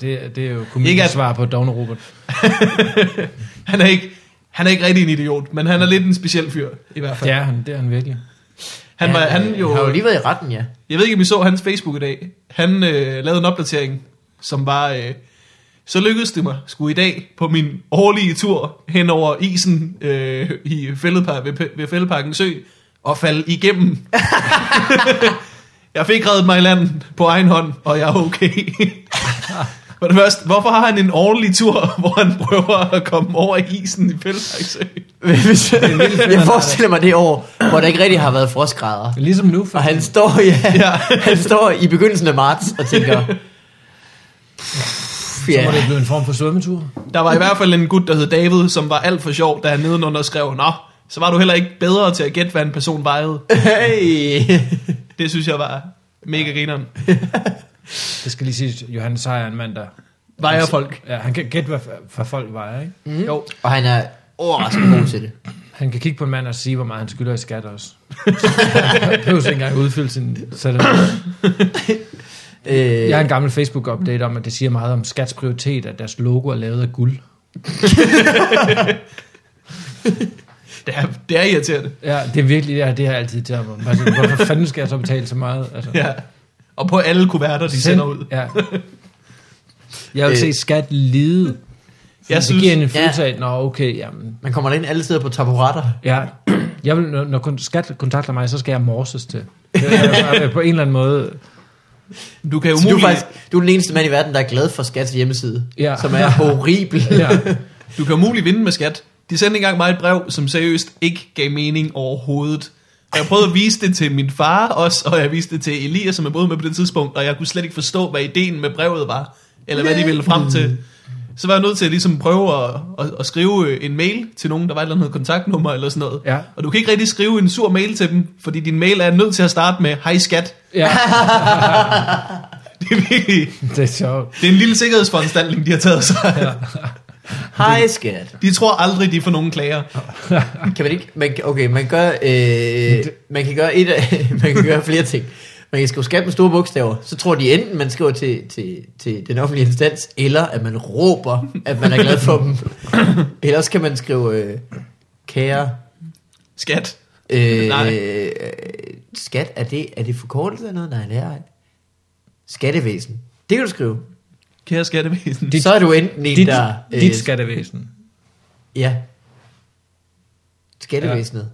[SPEAKER 2] Det, det er jo komikens
[SPEAKER 3] at-
[SPEAKER 2] svar på Dovne Robert.
[SPEAKER 3] han er ikke, han er ikke rigtig en idiot, men han er lidt en speciel fyr, i hvert fald.
[SPEAKER 2] Det
[SPEAKER 3] Ja.
[SPEAKER 2] er han, det er han virkelig.
[SPEAKER 3] Han, var, han jo,
[SPEAKER 1] øh, har jo lige været i retten, ja.
[SPEAKER 3] Jeg ved ikke, om I så hans Facebook i dag. Han øh, lavede en opdatering, som var, øh, så lykkedes det mig sgu i dag på min årlige tur hen over isen øh, i Fælledpark, ved, P- ved Fælledparken Sø og falde igennem. jeg fik reddet mig i land på egen hånd, og jeg er okay. For det første, hvorfor har han en årlig tur, hvor han prøver at komme over isen i Fælledparken Sø?
[SPEAKER 1] Hvis- jeg forestiller mig det år, hvor der ikke rigtig har været frostgrader.
[SPEAKER 2] Ligesom nu, for
[SPEAKER 1] Og han står, ja,
[SPEAKER 3] Ja.
[SPEAKER 1] ja. han står i begyndelsen af marts og tænker... Pff,
[SPEAKER 2] så må det
[SPEAKER 1] ja,
[SPEAKER 2] blive en form for svømmetur.
[SPEAKER 3] Der var i hvert fald en gut, der hed David, som var alt for sjov, da han nedenunder skrev, Nå, så var du heller ikke bedre til at gætte, hvad en person vejede.
[SPEAKER 1] hey.
[SPEAKER 3] Det synes jeg var mega grineren.
[SPEAKER 2] Det skal lige sige, Johannes Seier er en mand, der...
[SPEAKER 3] Vejer folk.
[SPEAKER 2] Ja, han kan gætte, hvad, hvad folk vejer, ikke?
[SPEAKER 3] Mm. Jo.
[SPEAKER 1] Og han er overraskende god til det.
[SPEAKER 2] Han kan kigge på en mand og sige, hvor meget han skylder i skat også. Han behøver ikke engang udfylde sin... sætter-
[SPEAKER 1] Øh,
[SPEAKER 2] Jeg har en gammel Facebook-update om, at det siger meget om skats prioritet, at deres logo er lavet af guld.
[SPEAKER 3] Det er, det er irriterende.
[SPEAKER 2] Ja, det er virkelig... Ja, det har jeg altid til ham. Altså, hvorfor fanden skal jeg så betale så meget? Altså,
[SPEAKER 3] Ja. Og på alle kuverter, de sender ud.
[SPEAKER 2] Ja. Jeg vil
[SPEAKER 1] Øh.
[SPEAKER 2] se skat lide. Jeg synes, det
[SPEAKER 3] synes-
[SPEAKER 2] giver en
[SPEAKER 1] Ja.
[SPEAKER 2] følelse af, nå okay, jamen,
[SPEAKER 1] man kommer ind alle steder på taburetter.
[SPEAKER 2] ja. Jeg vil, når, når kun- skat kontakter mig, så skal jeg morses til. Jeg, jeg, jeg, på en eller anden måde.
[SPEAKER 3] Du kan jo
[SPEAKER 1] Så du, er
[SPEAKER 3] umuligt,
[SPEAKER 1] faktisk, du er den eneste mand i verden, der er glad for Skats hjemmeside,
[SPEAKER 2] Ja.
[SPEAKER 1] som er horribel.
[SPEAKER 2] Ja.
[SPEAKER 3] du kan umuligt vinde med skat. De sendte engang mig et brev, som seriøst ikke gav mening overhovedet. Og jeg prøvede at vise det til min far også, og jeg viste det til Elias, som jeg boede med på det tidspunkt, og jeg kunne slet ikke forstå, hvad ideen med brevet var, eller hvad de ville frem til. Så var jeg nødt til at ligesom prøve at, at, at skrive øh, en mail til nogen, der var et eller andet kontaktnummer eller sådan noget.
[SPEAKER 2] Ja.
[SPEAKER 3] Og du kan ikke rigtig skrive en sur mail til dem, fordi din mail er nødt til at starte med, hej skat.
[SPEAKER 2] ja,
[SPEAKER 3] Det er, virkelig,
[SPEAKER 2] det er sjovt.
[SPEAKER 3] det er en lille sikkerhedsforanstaltning, de har taget sig.
[SPEAKER 1] Hej skat.
[SPEAKER 3] De tror aldrig, de får nogen klager.
[SPEAKER 1] Kan man ikke, man, kan- okay, man, gør, øh, man kan gøre et af, man kan gøre flere ting. Man kan skrive skat med store bogstaver, så tror de enten, man skriver til, til, til den offentlige instans, eller at man råber, at man er glad for dem. Ellers kan man skrive, øh, kære,
[SPEAKER 3] Skat.
[SPEAKER 1] øh,
[SPEAKER 3] Nej.
[SPEAKER 1] øh, skat, er det, er det forkortelse eller noget? Nej, det er ej. Skattevæsen. Det kan du skrive.
[SPEAKER 3] Kære skattevæsen.
[SPEAKER 1] Dit, så er du enten en,
[SPEAKER 2] Dit,
[SPEAKER 1] der... øh,
[SPEAKER 2] dit skattevæsen.
[SPEAKER 1] Ja. Skattevæsenet.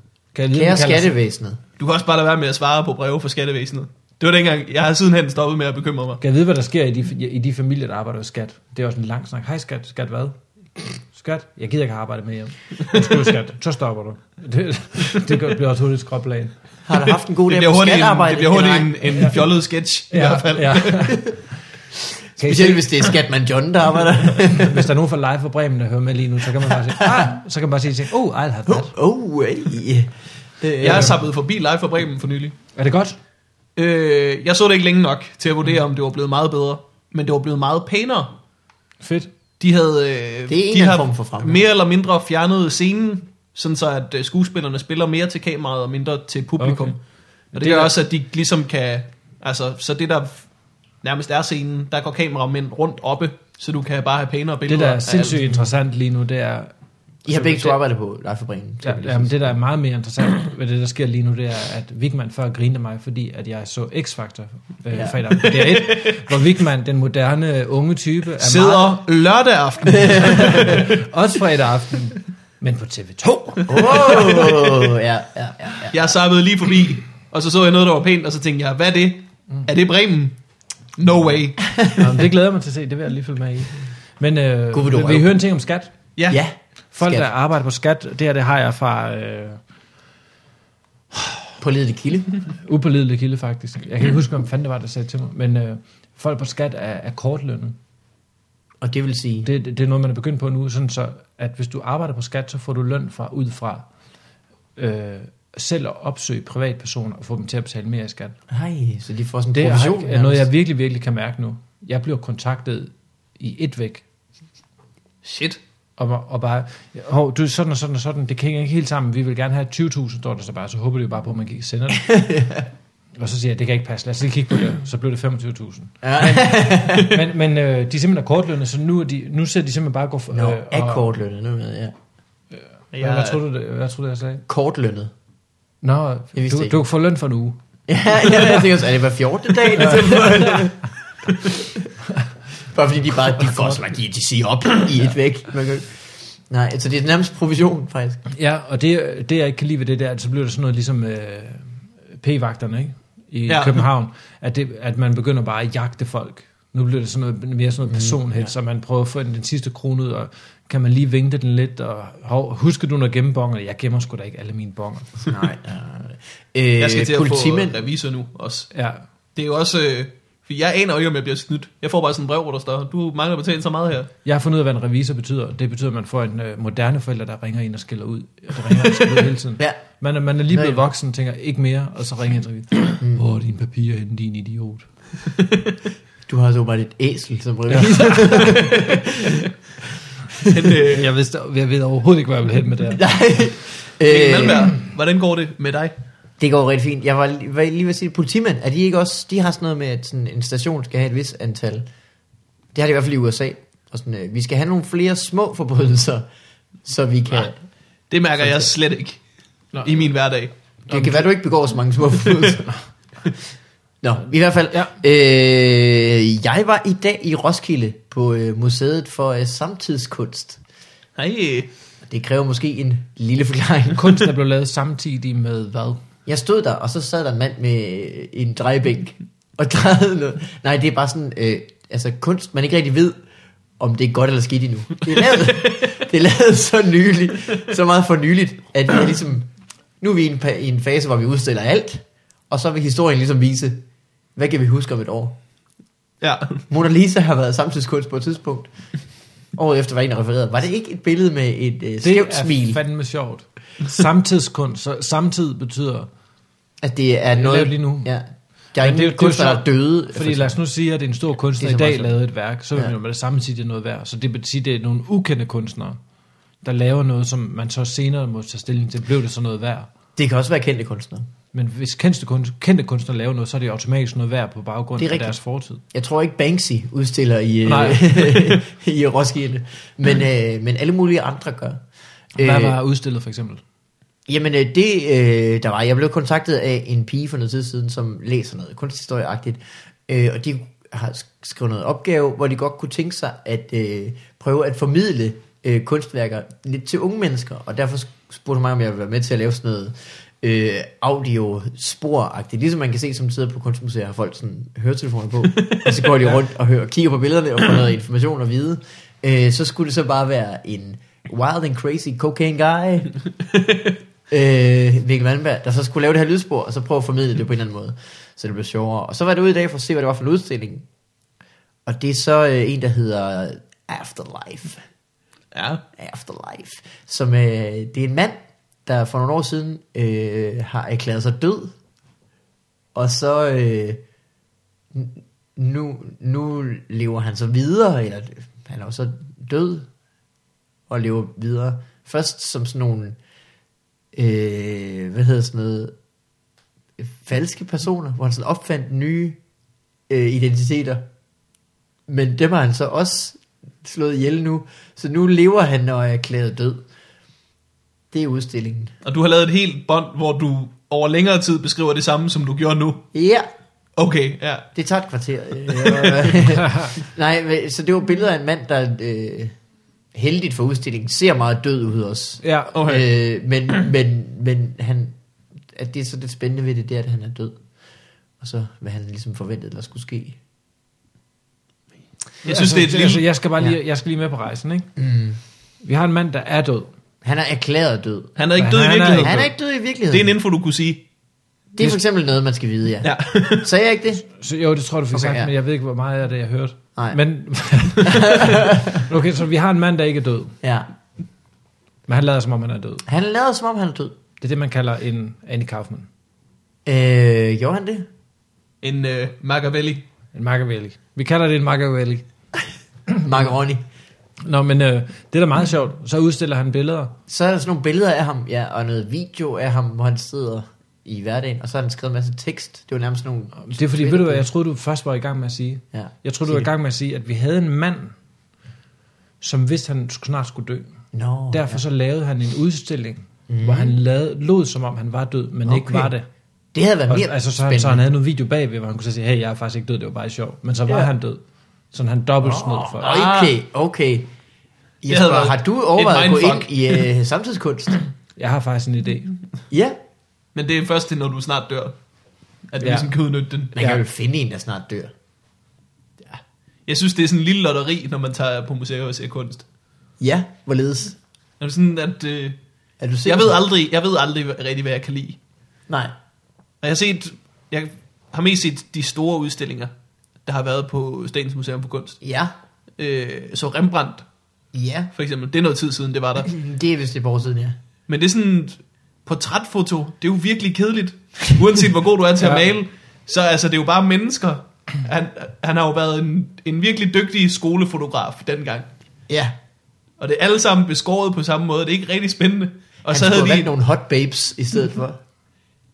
[SPEAKER 1] Ja. Kære
[SPEAKER 2] Kan jeg vide, om det kalder sig-
[SPEAKER 1] skattevæsenet.
[SPEAKER 3] Du kan også bare lade være med at svare på breve for skattevæsenet. Det var dengang, jeg har sidenhen stoppet med at bekymre mig.
[SPEAKER 2] Kan jeg vide, hvad der sker i de, i de familier, der arbejder hos skat? Det er også en lang snak. Hej skat, skat hvad? Skat, jeg gider ikke arbejde med hjem. Undskyld skat, så stopper du. Det, det gør- bliver også hurtigt skråplan.
[SPEAKER 1] Har du haft en god
[SPEAKER 3] Det
[SPEAKER 1] dag
[SPEAKER 3] bliver
[SPEAKER 1] på
[SPEAKER 3] hurtigt, en,
[SPEAKER 1] skattearbejde?
[SPEAKER 3] det bliver hurtigt
[SPEAKER 1] eller ej?
[SPEAKER 3] en, en fjollet sketch i hvert fald.
[SPEAKER 2] Ja. Kan I
[SPEAKER 1] Specielt
[SPEAKER 2] se,
[SPEAKER 1] hvis det er skatman John, der arbejder.
[SPEAKER 2] hvis der er nogen fra live fra Bremen, der hører med lige nu, så kan man bare sige, ah, så kan man bare sige, ting, oh, I'll have that.
[SPEAKER 1] oh, hey. Øh,
[SPEAKER 3] Jeg er sappet forbi live fra Bremen for nylig.
[SPEAKER 2] Er det godt?
[SPEAKER 3] Øh, jeg så det ikke længe nok til at vurdere, om det var blevet meget bedre. Men det var blevet meget pænere.
[SPEAKER 2] Fedt.
[SPEAKER 3] De havde, øh,
[SPEAKER 1] Det er en
[SPEAKER 3] de
[SPEAKER 1] anden
[SPEAKER 3] har
[SPEAKER 1] form for fremgang.
[SPEAKER 3] mere eller mindre fjernet scenen, sådan så at øh, skuespillerne spiller mere til kameraet og mindre til publikum.
[SPEAKER 2] Okay.
[SPEAKER 3] Okay. Og det,
[SPEAKER 2] Det
[SPEAKER 3] det gør
[SPEAKER 2] er-
[SPEAKER 3] også, at de ligesom kan, altså, så det der nærmest er scenen, der går kameramænd rundt oppe, så du kan bare have pænere billeder.
[SPEAKER 2] Det, der er
[SPEAKER 3] af
[SPEAKER 2] sindssygt
[SPEAKER 3] alt.
[SPEAKER 2] interessant lige nu, det er,
[SPEAKER 1] I har begge to arbejdet på lejeforbringen.
[SPEAKER 2] ja, jamen, det, der er meget mere interessant ved det, der sker lige nu, det er, at Vigman før grinte af mig, fordi at jeg så X-Factor øh,
[SPEAKER 1] Ja.
[SPEAKER 2] ja. fredag på DR1, hvor Vigman, den moderne øh, unge type, er meget,
[SPEAKER 3] Sidder lørdag aften.
[SPEAKER 2] også fredag aften, men på TV2.
[SPEAKER 1] Oh, ja, ja, ja, ja.
[SPEAKER 3] Jeg sappede lige forbi, og så så jeg noget, der var pænt, og så tænkte jeg, hvad er det? Er det Bremen? No way.
[SPEAKER 2] Nå, men det glæder jeg mig til at se, det vil jeg lige følge med i. Men øh,
[SPEAKER 1] Gud,
[SPEAKER 2] Gud,
[SPEAKER 1] vil du
[SPEAKER 2] vil, vil
[SPEAKER 1] røve.
[SPEAKER 2] I høre en ting om skat?
[SPEAKER 3] Ja.
[SPEAKER 1] Ja,
[SPEAKER 2] Folk,
[SPEAKER 1] Skat.
[SPEAKER 2] der arbejder på skat, det her det har jeg fra øh,
[SPEAKER 1] på ledet kilde.
[SPEAKER 2] upålidelig kilde faktisk. Jeg kan ikke huske, hvem fanden det var, der sagde til mig. Men øh, folk på skat er, er kortlønnet.
[SPEAKER 1] Og det vil sige...
[SPEAKER 2] Det, det, det er noget, man er begyndt på nu, sådan så, at hvis du arbejder på skat, så får du løn fra ud fra øh, selv at opsøge privatpersoner og få dem til at betale mere i skat.
[SPEAKER 1] Hej, så de får sådan en
[SPEAKER 2] Det
[SPEAKER 1] provision.
[SPEAKER 2] er, er noget, jeg virkelig, virkelig kan mærke nu. Jeg bliver kontaktet i et væk,
[SPEAKER 3] Shit.
[SPEAKER 2] og, og bare, hov, du, sådan og sådan og sådan, det hænger ikke helt sammen, vi vil gerne have 20.000, står der så bare, så håber de jo bare på, at man kan sende det. Og så siger jeg, det kan ikke passe, lad os lige kigge på det, så blev det 25.000.
[SPEAKER 1] Ja.
[SPEAKER 2] Men, men øh, de er simpelthen kortlønne, så nu, er de, nu ser de simpelthen bare gå... for-
[SPEAKER 1] Nå,
[SPEAKER 2] øh,
[SPEAKER 1] er
[SPEAKER 2] og-
[SPEAKER 1] kortlønnet nu, ja.
[SPEAKER 2] Hvad, hvad, tror du, det, hvad tror du, jeg sagde?
[SPEAKER 1] Kortlønnet.
[SPEAKER 2] Nå,
[SPEAKER 1] vidste
[SPEAKER 2] du,
[SPEAKER 1] ikke.
[SPEAKER 2] du får løn for en uge.
[SPEAKER 1] Ja, jeg tænker også, er det hver 14. dag? Det er bare fordi de bare, de får så meget de sig op i et væk. Man kan, nej, altså det er nærmest provision, faktisk.
[SPEAKER 2] Ja, og det, det jeg ikke kan lide ved det der, at så bliver det sådan noget ligesom øh, p-vagterne ikke? i
[SPEAKER 3] Ja.
[SPEAKER 2] ja. København, at, det, at man begynder bare at jagte folk. Nu bliver det sådan noget, mere sådan noget personligt,
[SPEAKER 1] ja.
[SPEAKER 2] så man prøver at få den, den sidste krone ud, og kan man lige vinkle den lidt, og hov, husker du, når gemme bonger? Jeg gemmer sgu da ikke alle mine bonger.
[SPEAKER 1] Nej. Øh,
[SPEAKER 3] Jeg skal til at
[SPEAKER 1] politimænd.
[SPEAKER 3] få revisor nu også.
[SPEAKER 2] Ja,
[SPEAKER 3] Det er jo også... Øh, for jeg aner jo ikke, om jeg bliver snydt. Jeg får bare sådan en brev, hvor der står, du mangler at betale så meget her.
[SPEAKER 2] jeg har fundet ud af, hvad en revisor betyder. Det betyder, at man får en øh, moderne forælder, der ringer ind og skiller ud. Der ringer ind og skiller ud hele tiden.
[SPEAKER 1] Ja.
[SPEAKER 2] Man, er- man er lige
[SPEAKER 1] Nå,
[SPEAKER 2] blevet
[SPEAKER 1] ja.
[SPEAKER 2] voksen, tænker ikke mere, og så ringer en
[SPEAKER 1] Mm.
[SPEAKER 2] revisor. Hvor er dine papirer henne, din idiot?
[SPEAKER 1] Du har så bare et æsel som revisor.
[SPEAKER 3] Men, øh,
[SPEAKER 2] Jeg, vidste, jeg ved overhovedet ikke, hvor jeg vil hen med det her.
[SPEAKER 1] Nej.
[SPEAKER 3] Mikkel
[SPEAKER 1] Øh,
[SPEAKER 3] Malmberg, hvordan går det med dig?
[SPEAKER 1] det går rigtig fint. Jeg var, lige- var lige ved at sige, politimænd, er de ikke også, de har sådan noget med, at sådan en station skal have et vis antal. Det har de i hvert fald i USA. Og sådan, øh, vi skal have nogle flere små forbrydelser, så vi kan...
[SPEAKER 3] Nej. Det mærker jeg slet ikke
[SPEAKER 2] Nå.
[SPEAKER 3] i min hverdag.
[SPEAKER 1] Det kan være, du ikke begår så mange små forbrydelser. Nå, i hvert fald.
[SPEAKER 2] Ja.
[SPEAKER 1] Øh, jeg var i dag i Roskilde på øh, Museet for øh, Samtidskunst.
[SPEAKER 3] Nej,
[SPEAKER 1] Det kræver måske en lille forklaring.
[SPEAKER 2] Kunsten er blevet lavet samtidig med hvad?
[SPEAKER 1] Jeg stod der, og så sad der en mand med øh, en drejebænk og drejede noget. Nej, det er bare sådan, øh, altså kunst, man ikke rigtig ved, om det er godt eller skidt endnu. Det er lavet, det er lavet så nyligt, så meget for nyligt, at vi er ligesom, nu er vi i en, pa- i en fase, hvor vi udstiller alt, og så vil historien ligesom vise, hvad kan vi huske om et år?
[SPEAKER 3] ja.
[SPEAKER 1] Mona Lisa har været samtidskunst på et tidspunkt. Året efter var en, der refererede. Var det ikke et billede med et øh,
[SPEAKER 2] Det
[SPEAKER 1] skævt smil?
[SPEAKER 2] er fandme sjovt. Samtidskunst, så samtid betyder...
[SPEAKER 1] At det er
[SPEAKER 2] lavet
[SPEAKER 1] noget...
[SPEAKER 2] lige nu.
[SPEAKER 1] Ja. Der er
[SPEAKER 2] Men det er jo- det er
[SPEAKER 1] ingen
[SPEAKER 2] jo
[SPEAKER 1] kunstner, der er
[SPEAKER 2] sjovt,
[SPEAKER 1] døde. for
[SPEAKER 2] Fordi lad os nu sige, at en stor kunstner
[SPEAKER 1] Det
[SPEAKER 2] i
[SPEAKER 1] er så meget
[SPEAKER 2] dag
[SPEAKER 1] sjovt.
[SPEAKER 2] lavede et værk, så vil
[SPEAKER 1] Ja.
[SPEAKER 2] man jo med det samme sige, det er noget værd. Så det vil sige, at det er nogle ukendte kunstnere, der laver noget, som man så senere må tage stilling til. Blev det så noget værd?
[SPEAKER 1] Det kan også være kendte kunstnere.
[SPEAKER 2] Men hvis kendte, kunst, kendte kunstnere laver noget, så er det jo automatisk noget værd på baggrund
[SPEAKER 1] Det er
[SPEAKER 2] af
[SPEAKER 1] rigtigt.
[SPEAKER 2] deres fortid.
[SPEAKER 1] Jeg tror ikke Banksy udstiller i, øh,
[SPEAKER 2] Nej.
[SPEAKER 1] i Roskilde, men, øh, men alle mulige andre gør. Øh.
[SPEAKER 2] Hvad var udstillet for eksempel?
[SPEAKER 1] Jamen øh, det, øh, der var, jeg blev kontaktet af en pige for noget tid siden, som læser noget kunsthistorieagtigt, øh, og de har sk- skrevet noget opgave, hvor de godt kunne tænke sig at øh, prøve at formidle øh, kunstværker lidt til unge mennesker, og derfor sk- spurgte hun mig, om jeg ville være med til at lave sådan noget øh, audiospor-agtigt, ligesom man kan se, som sidder på kunstmuseer, har folk sådan høretelefoner på, og så går de rundt og hører, kigger på billederne og får noget information og vide, øh, så skulle det så bare være en wild and crazy cocaine guy, øh, Mikkel Vandberg, der så skulle lave det her lydspor, og så prøve at formidle det på en eller anden måde, så det blev sjovere. Og så var det ude i dag for at se, hvad det var for en udstilling. Og det er så øh, en, der hedder Afterlife.
[SPEAKER 3] Ja,
[SPEAKER 1] Afterlife. Som, øh, det er en mand, der for nogle år siden øh, har erklæret sig død. Og så øh, n- nu, nu lever han så videre, eller han er jo så død og lever videre. Først som sådan nogle, øh, hvad hedder sådan noget, falske personer, hvor han sådan opfandt nye øh, identiteter. Men dem har han så også slået ihjel nu, så nu lever han og er erklæret død. Det er udstillingen.
[SPEAKER 3] og du har lavet et helt bånd, hvor du over længere tid beskriver det samme, som du gjorde nu.
[SPEAKER 1] Ja,
[SPEAKER 3] Okay, ja.
[SPEAKER 1] det tager et kvarter. Øh, Nej, men- så det var billeder af en mand, der øh, heldigt for udstillingen ser meget død ud også.
[SPEAKER 2] Ja,
[SPEAKER 1] Okay. Øh, men, men, men han, at det er så lidt spændende ved det, det er, at han er død. Og så, hvad han ligesom forventede, der skulle ske.
[SPEAKER 3] Jeg synes, det er et
[SPEAKER 2] altså,
[SPEAKER 3] lille...
[SPEAKER 2] jeg skal bare lige, jeg skal lige med på rejsen, ikke?
[SPEAKER 1] Mm.
[SPEAKER 2] Vi har en mand, der er død.
[SPEAKER 1] Han er erklæret død.
[SPEAKER 3] Han er ikke død i
[SPEAKER 2] Han er-
[SPEAKER 3] virkeligheden.
[SPEAKER 1] Han er ikke død i virkeligheden.
[SPEAKER 3] Det er en info, du kunne sige.
[SPEAKER 1] det er for eksempel noget, man skal vide, ja.
[SPEAKER 3] Ja.
[SPEAKER 1] Sagde jeg ikke det?
[SPEAKER 2] Så, jo, det tror jeg, du fik
[SPEAKER 1] Okay,
[SPEAKER 2] okay, sagt,
[SPEAKER 1] ja.
[SPEAKER 2] ja. men jeg ved ikke, hvor meget af det, jeg hørte.
[SPEAKER 1] Nej.
[SPEAKER 2] Men, okay, så vi har en mand, der ikke er død,
[SPEAKER 1] Ja.
[SPEAKER 2] men han lader, som om han er død.
[SPEAKER 1] Han lader som om, han er død.
[SPEAKER 2] Det er det, man kalder en Annie Kaufman.
[SPEAKER 1] Øh, gjorde han det?
[SPEAKER 3] En øh, Machiavelli.
[SPEAKER 2] En Machiavelli. Vi kalder det en Machiavelli.
[SPEAKER 1] Macaroni.
[SPEAKER 2] Nå, men øh, det er da meget sjovt. Så udstiller han billeder.
[SPEAKER 1] Så er der sådan nogle billeder af ham, ja, og noget video af ham, hvor han sidder i hverdagen, og så har han skrevet en masse tekst. Det var nærmest sådan nogle...
[SPEAKER 2] Det er fordi, ved du hvad, jeg troede, du først var i gang med at sige.
[SPEAKER 1] Ja.
[SPEAKER 2] Jeg troede,
[SPEAKER 1] Sig
[SPEAKER 2] du var i
[SPEAKER 1] det.
[SPEAKER 2] gang med at sige, at vi havde en mand, som vidste, han snart skulle dø.
[SPEAKER 1] Nå,
[SPEAKER 2] Derfor så lavede han en udstilling, mm. hvor han lavede, lod som om, han var død, men okay. ikke
[SPEAKER 1] Mhm. Okay.
[SPEAKER 2] var det.
[SPEAKER 1] Det havde været
[SPEAKER 2] Og,
[SPEAKER 1] mere
[SPEAKER 2] altså, så, han,
[SPEAKER 1] spændende.
[SPEAKER 2] så han havde noget video bagved, hvor han kunne så sige, hey, jeg er faktisk ikke død, det var bare sjov. Men så var
[SPEAKER 1] Ja.
[SPEAKER 2] han død. Sådan han dobbelt snød for.
[SPEAKER 1] Åh, Okay, okay.
[SPEAKER 3] havde
[SPEAKER 1] Jesper,
[SPEAKER 3] været
[SPEAKER 1] har du
[SPEAKER 3] et
[SPEAKER 1] overvejet at gå ind
[SPEAKER 3] mindfuck.
[SPEAKER 1] i øh, samtidskunst?
[SPEAKER 2] Jeg har faktisk en idé.
[SPEAKER 1] ja,
[SPEAKER 3] Men det er først til, når du snart dør, at du
[SPEAKER 2] Ja.
[SPEAKER 3] ja. ligesom kan udnytte den.
[SPEAKER 1] man
[SPEAKER 2] Ja.
[SPEAKER 1] kan jo finde en, der snart dør.
[SPEAKER 3] Jeg synes, det er sådan en lille lotteri, når man tager på museer og ser kunst.
[SPEAKER 1] Ja, hvorledes?
[SPEAKER 3] Er det sådan, at, øh,
[SPEAKER 1] Er du sikker?
[SPEAKER 3] jeg, ved aldrig, jeg ved aldrig hvad- rigtig, hvad jeg kan lide.
[SPEAKER 1] Nej.
[SPEAKER 3] Og jeg har, set, jeg har mest set de store udstillinger, der har været på Statens Museum for Kunst.
[SPEAKER 1] Ja,
[SPEAKER 3] Øh, så Rembrandt,
[SPEAKER 1] ja.
[SPEAKER 3] for eksempel, det er noget tid siden, det var der.
[SPEAKER 1] Det er vist det på siden, ja.
[SPEAKER 3] Men det er sådan et portrætfoto, det er jo virkelig kedeligt. Uanset hvor god du er til at
[SPEAKER 2] Ja.
[SPEAKER 3] male, så altså, det er jo bare mennesker. Han, han har jo været en, en virkelig dygtig skolefotograf dengang.
[SPEAKER 1] Ja,
[SPEAKER 3] Og det er alle sammen beskåret på samme måde, det er ikke rigtig spændende. Og
[SPEAKER 1] han
[SPEAKER 3] så havde de,
[SPEAKER 1] valgt nogle hot babes i stedet for.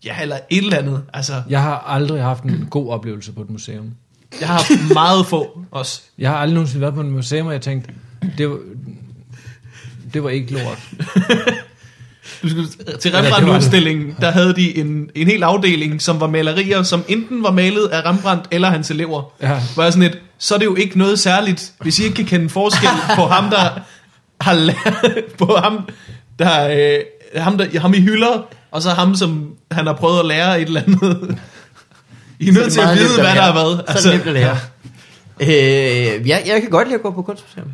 [SPEAKER 3] ja, eller et eller andet. Altså,
[SPEAKER 2] Jeg har aldrig haft en god oplevelse på et museum.
[SPEAKER 3] jeg har haft meget få også.
[SPEAKER 2] Jeg har aldrig nogensinde været på et museum, og jeg tænkte, det var, det var ikke lort.
[SPEAKER 3] Du skulle, til
[SPEAKER 2] Ja, det var det.
[SPEAKER 3] Rembrandt-udstillingen, der havde de en, en hel afdeling, som var malerier, som enten var malet af Rembrandt eller hans elever.
[SPEAKER 2] Ja.
[SPEAKER 3] Hvor jeg sådan et, så er det jo ikke noget særligt, hvis I ikke kan kende forskel på ham, der har la- på ham, der, øh, ham, der, ham i hylder, og så ham, som han har prøvet at lære et eller andet. I er
[SPEAKER 1] Så det er
[SPEAKER 3] nødt til at
[SPEAKER 1] meget
[SPEAKER 3] vide,
[SPEAKER 1] nemt at
[SPEAKER 3] hvad der Altså-
[SPEAKER 1] lære.
[SPEAKER 3] er
[SPEAKER 1] Så
[SPEAKER 3] hvad.
[SPEAKER 1] er det nemt at lære. Øh, jeg, jeg kan godt lide at gå på kunstmuseum.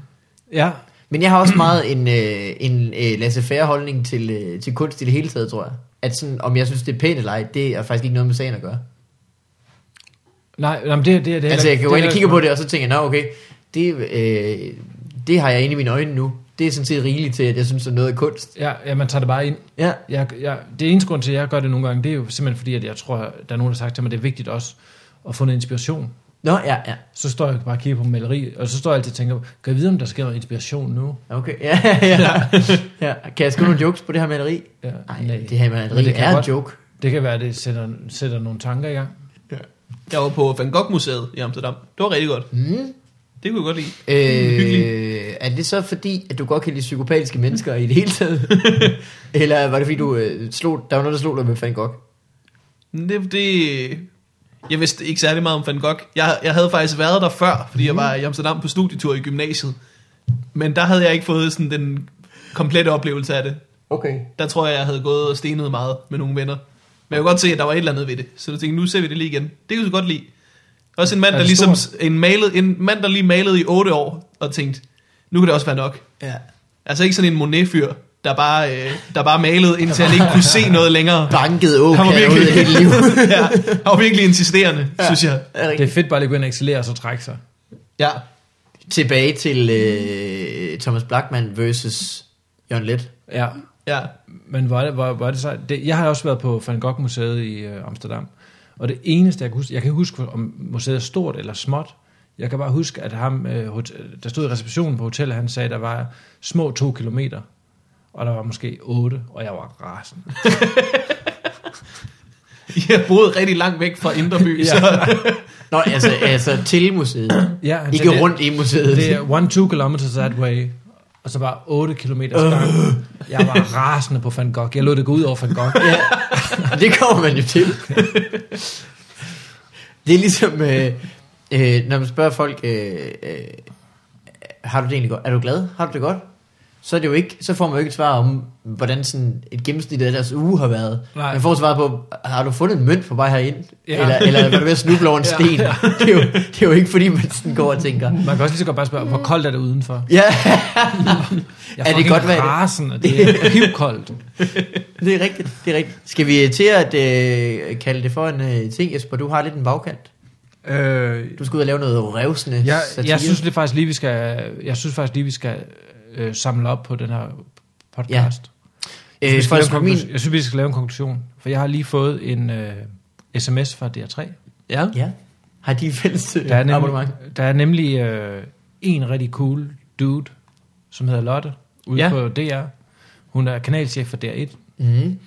[SPEAKER 2] Ja,
[SPEAKER 1] Men jeg har også meget en, øh, en øh, laissez-faire holdning til, øh, til kunst i det hele taget, tror jeg. At sådan, om jeg synes, det er pænt eller ej, det er faktisk ikke noget med sagen at gøre.
[SPEAKER 2] nej, nej men det, det, det er det
[SPEAKER 1] Altså, jeg kan gå ind og kigge på
[SPEAKER 2] det.
[SPEAKER 1] det, og så tænker jeg, nå okay, det, øh, det har jeg inde i mine øjne nu. Det er sådan set rigeligt til, at jeg synes, at noget er kunst.
[SPEAKER 2] Ja, ja, man tager det bare ind.
[SPEAKER 1] Ja,
[SPEAKER 2] Jeg, jeg, det eneste grund til, at jeg gør det nogle gange, det er jo simpelthen fordi, at jeg tror, at der er nogen, der har sagt til mig, at det er vigtigt også at få noget inspiration.
[SPEAKER 1] nå ja, ja.
[SPEAKER 2] Så står jeg bare og kigger på maleri, og så står jeg altid og tænker, kan jeg vide, om der sker noget inspiration nu?
[SPEAKER 1] Okay, ja, ja, ja. Kan jeg skrive nogle jokes på det her maleri?
[SPEAKER 2] Ja,
[SPEAKER 1] Nej, det her maleri
[SPEAKER 2] Men det
[SPEAKER 1] det
[SPEAKER 2] kan
[SPEAKER 1] er en
[SPEAKER 2] godt-
[SPEAKER 1] joke.
[SPEAKER 2] Det kan være, at det sætter, sætter nogle tanker i gang.
[SPEAKER 3] Jeg var på Van Gogh-museet i Amsterdam. Det var rigtig godt.
[SPEAKER 1] Mm.
[SPEAKER 3] Det kunne jeg godt lide.
[SPEAKER 1] Øh, er det så fordi, at du godt kan lide psykopatiske mennesker i det hele taget? Eller var det fordi, du øh, slog, der var noget, der slog dig med Van Gogh?
[SPEAKER 3] Men Det, det, jeg vidste ikke særlig meget om Van Gogh. Jeg, jeg havde faktisk været der før, fordi
[SPEAKER 2] Mhm.
[SPEAKER 3] jeg var i Amsterdam på studietur i gymnasiet. Men der havde jeg ikke fået sådan den komplette oplevelse af det.
[SPEAKER 1] Okay.
[SPEAKER 3] Der tror jeg, jeg havde gået og stenet meget med nogle venner. Men jeg kunne godt se, at der var et eller andet ved det. Så jeg tænkte, nu ser vi det lige igen. Det kunne jeg godt lide. Også en mand,
[SPEAKER 2] Er
[SPEAKER 3] der
[SPEAKER 2] det
[SPEAKER 3] ligesom, en, malet, en mand, der lige malede i 8 år, og tænkte, nu kan det også være nok.
[SPEAKER 1] Ja.
[SPEAKER 3] Altså ikke sådan en Monet-fyr, der bare, øh, der bare malede, indtil han ikke kunne se noget længere.
[SPEAKER 1] Banket
[SPEAKER 3] Han var
[SPEAKER 1] åkager ud
[SPEAKER 3] virkelig,
[SPEAKER 1] af hele livet.
[SPEAKER 3] ja, han var virkelig insisterende, ja. synes jeg.
[SPEAKER 1] Er det
[SPEAKER 2] Det er fedt bare lige at gå ind og excellere og så trække sig.
[SPEAKER 3] Ja.
[SPEAKER 1] Tilbage til øh, Thomas Blackman versus Jørgen Let.
[SPEAKER 2] Ja,
[SPEAKER 3] ja.
[SPEAKER 2] Men hvor er det, hvor, hvor er det så? Det, jeg har også været på Van Gogh-museet i øh, Amsterdam, og det eneste, jeg kan huske, jeg kan ikke huske, om museet er stort eller småt, jeg kan bare huske, at ham, øh, hotel, der stod i receptionen på hotellet, han sagde, at der var små to kilometer, og der var måske otte, og jeg var rasende.
[SPEAKER 3] Jeg boede rigtig langt væk fra Indreby,
[SPEAKER 2] Ja.
[SPEAKER 3] ja. så
[SPEAKER 1] Nå, altså, altså til museet.
[SPEAKER 2] Ja, han
[SPEAKER 1] Ikke
[SPEAKER 2] sagde,
[SPEAKER 1] rundt i museet.
[SPEAKER 2] Det, det er one, two kilometers that way, og så bare 8 km
[SPEAKER 1] Øh.
[SPEAKER 2] gang. Jeg var rasende på Van Gogh. Jeg lod det gå ud over Van Gogh.
[SPEAKER 1] ja, det kommer man jo til. Det er ligesom, øh, øh, når man spørger folk, øh, øh, har du det egentlig godt? Er du glad? Har du det godt? Så, er det jo ikke, så får man jo ikke et svar om, hvordan sådan et gennemsnit af deres uge har været.
[SPEAKER 2] Nej.
[SPEAKER 1] Nej. Man får et svar på, har du fundet en mønt på vej herind?
[SPEAKER 2] Ja.
[SPEAKER 1] Ja. Eller, eller var du ved at snuble over en
[SPEAKER 2] Ja.
[SPEAKER 1] sten? Ja, ja. Det, er jo, det er jo ikke fordi, man sådan går og tænker,
[SPEAKER 2] Man kan også lige så godt bare spørge, hvor koldt er det udenfor?
[SPEAKER 1] ja,
[SPEAKER 2] Jeg
[SPEAKER 1] Er det
[SPEAKER 2] fucking
[SPEAKER 1] godt, hvad er det?
[SPEAKER 2] rasende, det er hivkoldt.
[SPEAKER 1] det er rigtigt, det er rigtigt. Skal vi til at øh, kalde det for en øh, ting, Jesper? Du har lidt en bagkant.
[SPEAKER 2] Øh,
[SPEAKER 1] Du skal ud og lave noget revsende
[SPEAKER 2] Jeg,
[SPEAKER 1] satire.
[SPEAKER 2] jeg synes det faktisk lige, vi skal, jeg synes faktisk lige, vi skal øh, samle op på den her podcast. Jeg synes, vi
[SPEAKER 1] Øh,
[SPEAKER 2] skal
[SPEAKER 1] for
[SPEAKER 2] lave en
[SPEAKER 1] at min,
[SPEAKER 2] konklusion- jeg synes, vi skal lave en konklusion. For jeg har lige fået en øh, sms fra DR3.
[SPEAKER 3] Ja.
[SPEAKER 1] ja, har de fælles øh,
[SPEAKER 2] Der er
[SPEAKER 1] abonnement?
[SPEAKER 2] nemlig, der er nemlig øh, en rigtig cool dude, som hedder Lotte, ude
[SPEAKER 3] Ja.
[SPEAKER 2] ja. på DR. Hun er kanalchef for DR1.
[SPEAKER 1] Mm.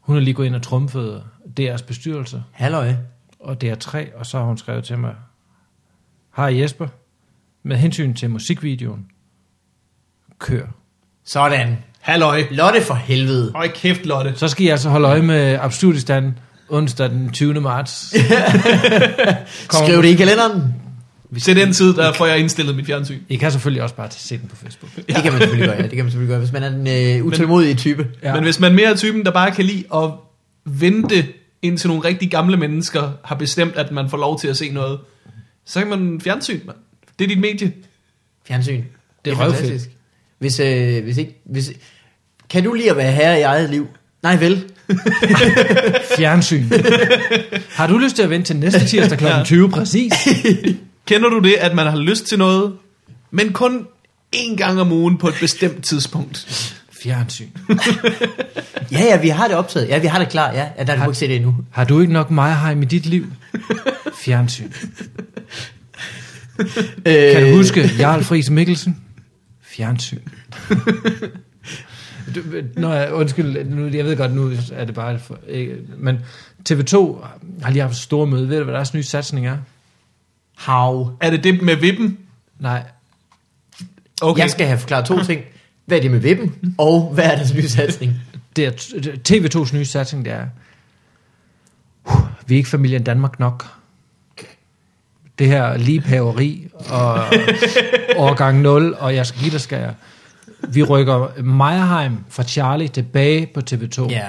[SPEAKER 2] Hun har lige gået ind og trumfet DR's bestyrelse
[SPEAKER 1] Halløj.
[SPEAKER 2] og DR3, og så har hun skrevet til mig, Hej Jesper, med hensyn til musikvideoen, kør.
[SPEAKER 1] Sådan.
[SPEAKER 3] Halløj.
[SPEAKER 1] Lotte for helvede.
[SPEAKER 3] Høj kæft, Lotte.
[SPEAKER 2] Så skal I altså holde øje med Absurdistan onsdag den 20. marts. Kom.
[SPEAKER 1] Skriv det i kalenderen.
[SPEAKER 3] Hvis Til den tid, der får jeg indstillet mit fjernsyn.
[SPEAKER 2] I kan selvfølgelig også bare se den på Facebook.
[SPEAKER 1] Ja. Det kan man selvfølgelig gøre, ja. Det kan man selvfølgelig gøre, hvis man er en øh, utålmodig type.
[SPEAKER 3] Ja. Men hvis man mere er typen, der bare kan lide at vente, indtil nogle rigtig gamle mennesker har bestemt, at man får lov til at se noget, så kan man fjernsyn, mand. Det er dit medie.
[SPEAKER 1] Fjernsyn.
[SPEAKER 2] Det er røvfedt.
[SPEAKER 1] Hvis, øh, hvis ikke... Hvis, kan du lide at være herre i eget liv? Nej vel.
[SPEAKER 2] Fjernsyn. Har du lyst til at vente til næste tirsdag kl. 20 præcis?
[SPEAKER 3] Kender du det, at man har lyst til noget, men kun én gang om ugen på et bestemt tidspunkt?
[SPEAKER 2] Fjernsyn.
[SPEAKER 1] Ja, ja, vi har det optaget. Ja, vi har det klar. Ja, ja der har du ikke set det endnu.
[SPEAKER 2] Har du ikke nok mig her i dit liv? Fjernsyn.
[SPEAKER 1] Øh,
[SPEAKER 2] Kan du huske Jarl Friis Mikkelsen? Fjernsyn. Du, Nå, ja, undskyld, nu, jeg ved godt, nu er det bare... For, ikke, men TV2 har lige haft store møde. Ved du, hvad deres nye satsning er?
[SPEAKER 1] Hav.
[SPEAKER 3] Er det det med vippen?
[SPEAKER 2] Nej,
[SPEAKER 1] Okay.
[SPEAKER 3] Okay.
[SPEAKER 1] Jeg skal have forklaret to ting. Hvad er det med vippen, og hvad er deres nye satsning?
[SPEAKER 2] det er TV2's nye satsning, det er, uh, vi er ikke familien Danmark nok. Det her ligehaveri og årgang 0, og jeg skal give dig, skal jeg. Vi rykker Meierheim fra Charlie tilbage på TV2.
[SPEAKER 1] Ja.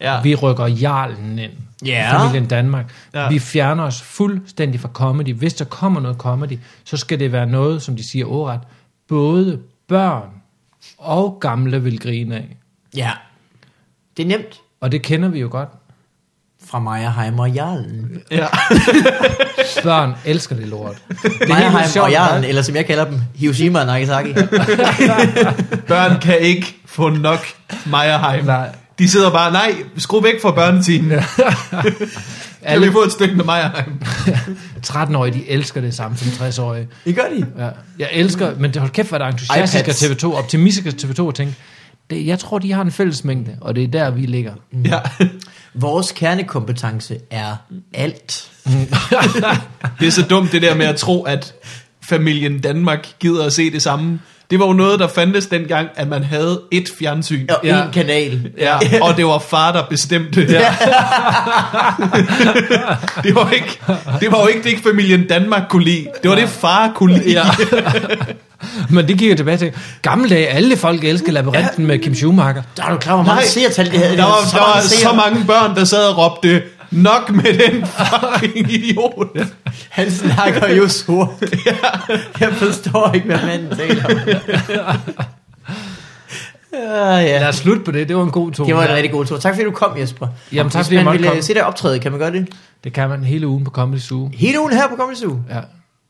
[SPEAKER 3] Ja.
[SPEAKER 2] Vi rykker Jarlen ind.
[SPEAKER 1] Ja.
[SPEAKER 2] Familien Danmark.
[SPEAKER 3] Ja.
[SPEAKER 2] Ja. Vi fjerner os fuldstændig fra comedy. Hvis der kommer noget comedy, så skal det være noget, som de siger ordret, både børn og gamle vil grine af.
[SPEAKER 1] Ja. Det er nemt.
[SPEAKER 2] Og det kender vi jo godt.
[SPEAKER 1] Fra Meierheim og Jarlen.
[SPEAKER 3] Ja.
[SPEAKER 2] Børn elsker det lort. Det er helt vildt
[SPEAKER 1] Meierheim og Jarlen,
[SPEAKER 2] ikke?
[SPEAKER 1] eller som jeg kalder dem, Hiroshima og Nagasaki.
[SPEAKER 3] Børn kan ikke få nok Meyerheim.
[SPEAKER 2] Nej.
[SPEAKER 3] De sidder bare, nej, skru væk fra børnetimen. Ja. Kan
[SPEAKER 2] Alle
[SPEAKER 3] vi få et stykke med Meyerheim?
[SPEAKER 2] 13-årige, de elsker det samme som 60-årige.
[SPEAKER 1] I gør de.
[SPEAKER 2] Ja. Jeg elsker, men det- hold kæft, hvor er der entusiastisk af
[SPEAKER 1] iPads.
[SPEAKER 2] TV2, optimistisk af TV2 at tænke, det, jeg tror, de har en fællesmængde, og det er der, vi ligger.
[SPEAKER 3] Ja.
[SPEAKER 1] Vores kernekompetence er alt.
[SPEAKER 3] Det er så dumt det der med at tro, at familien Danmark gider at se det samme. Det var jo noget, der fandtes dengang, at man havde et fjernsyn.
[SPEAKER 1] Og
[SPEAKER 2] Ja.
[SPEAKER 1] ja. en kanal.
[SPEAKER 3] Ja, og det var far, der bestemte. Ja. det, var ikke, det var jo ikke det, familien Danmark kunne lide. Det var det, far kunne lide.
[SPEAKER 2] Ja. men det gik jo tilbage til, gamle dage, alle folk elsker labyrinten ja. med Kim Schumacher.
[SPEAKER 1] Der er du klar, hvor mange seertal det havde.
[SPEAKER 3] der var,
[SPEAKER 1] så
[SPEAKER 3] der var
[SPEAKER 1] mange
[SPEAKER 3] så
[SPEAKER 1] seere.
[SPEAKER 3] mange børn, der sad og råbte, nok med den fucking idiot.
[SPEAKER 1] Han snakker jo sort. Jeg forstår ikke, hvad manden taler om. Ah, ja.
[SPEAKER 2] Lad os slutte på det, det var en god tone.
[SPEAKER 1] Det var en rigtig god tur. Tak fordi du kom, Jesper.
[SPEAKER 2] Jamen, tak,
[SPEAKER 1] Hvis
[SPEAKER 2] fordi
[SPEAKER 1] man
[SPEAKER 2] jeg måtte
[SPEAKER 1] ville
[SPEAKER 2] komme.
[SPEAKER 1] komme. se dig optræde, kan man gøre det?
[SPEAKER 2] Det kan man hele ugen på Comedy Zoo.
[SPEAKER 1] Hele ugen her på Comedy Zoo.
[SPEAKER 2] Ja.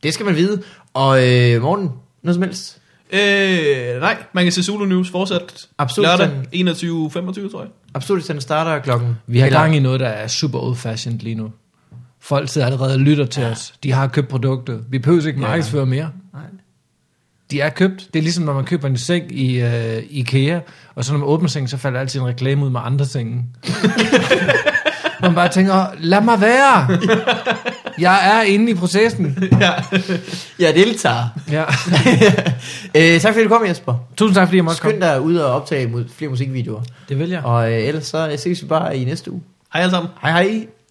[SPEAKER 1] Det skal man vide. Og øh, morgen, noget som helst.
[SPEAKER 3] Øh, nej, man kan se Zulu News fortsat.
[SPEAKER 1] Absolut.
[SPEAKER 3] Lørdag 21.25, tror jeg.
[SPEAKER 1] Absolut, den starter klokken.
[SPEAKER 2] Vi har gang i noget, der er super old-fashioned lige nu. Folk sidder allerede og lytter til os. De har købt produktet. Vi behøver ikke
[SPEAKER 1] Ja.
[SPEAKER 2] markedsføre mere.
[SPEAKER 1] Nej.
[SPEAKER 2] De er købt. Det er ligesom, når man køber en seng i øh, Ikea, og så når man åbner sengen, så falder altid en reklame ud med andre sengen. man bare tænker, lad mig være. Jeg er inde i processen.
[SPEAKER 1] Jeg deltager.
[SPEAKER 2] Ja.
[SPEAKER 1] øh, tak fordi du kom, Jesper.
[SPEAKER 2] Tusind tak, fordi jeg måtte komme.
[SPEAKER 1] Skynd dig ud og optage mu- flere musikvideoer.
[SPEAKER 2] Det vil jeg.
[SPEAKER 1] Og øh, ellers så ses vi bare i næste uge.
[SPEAKER 3] Hej alle sammen.
[SPEAKER 1] Hej hej.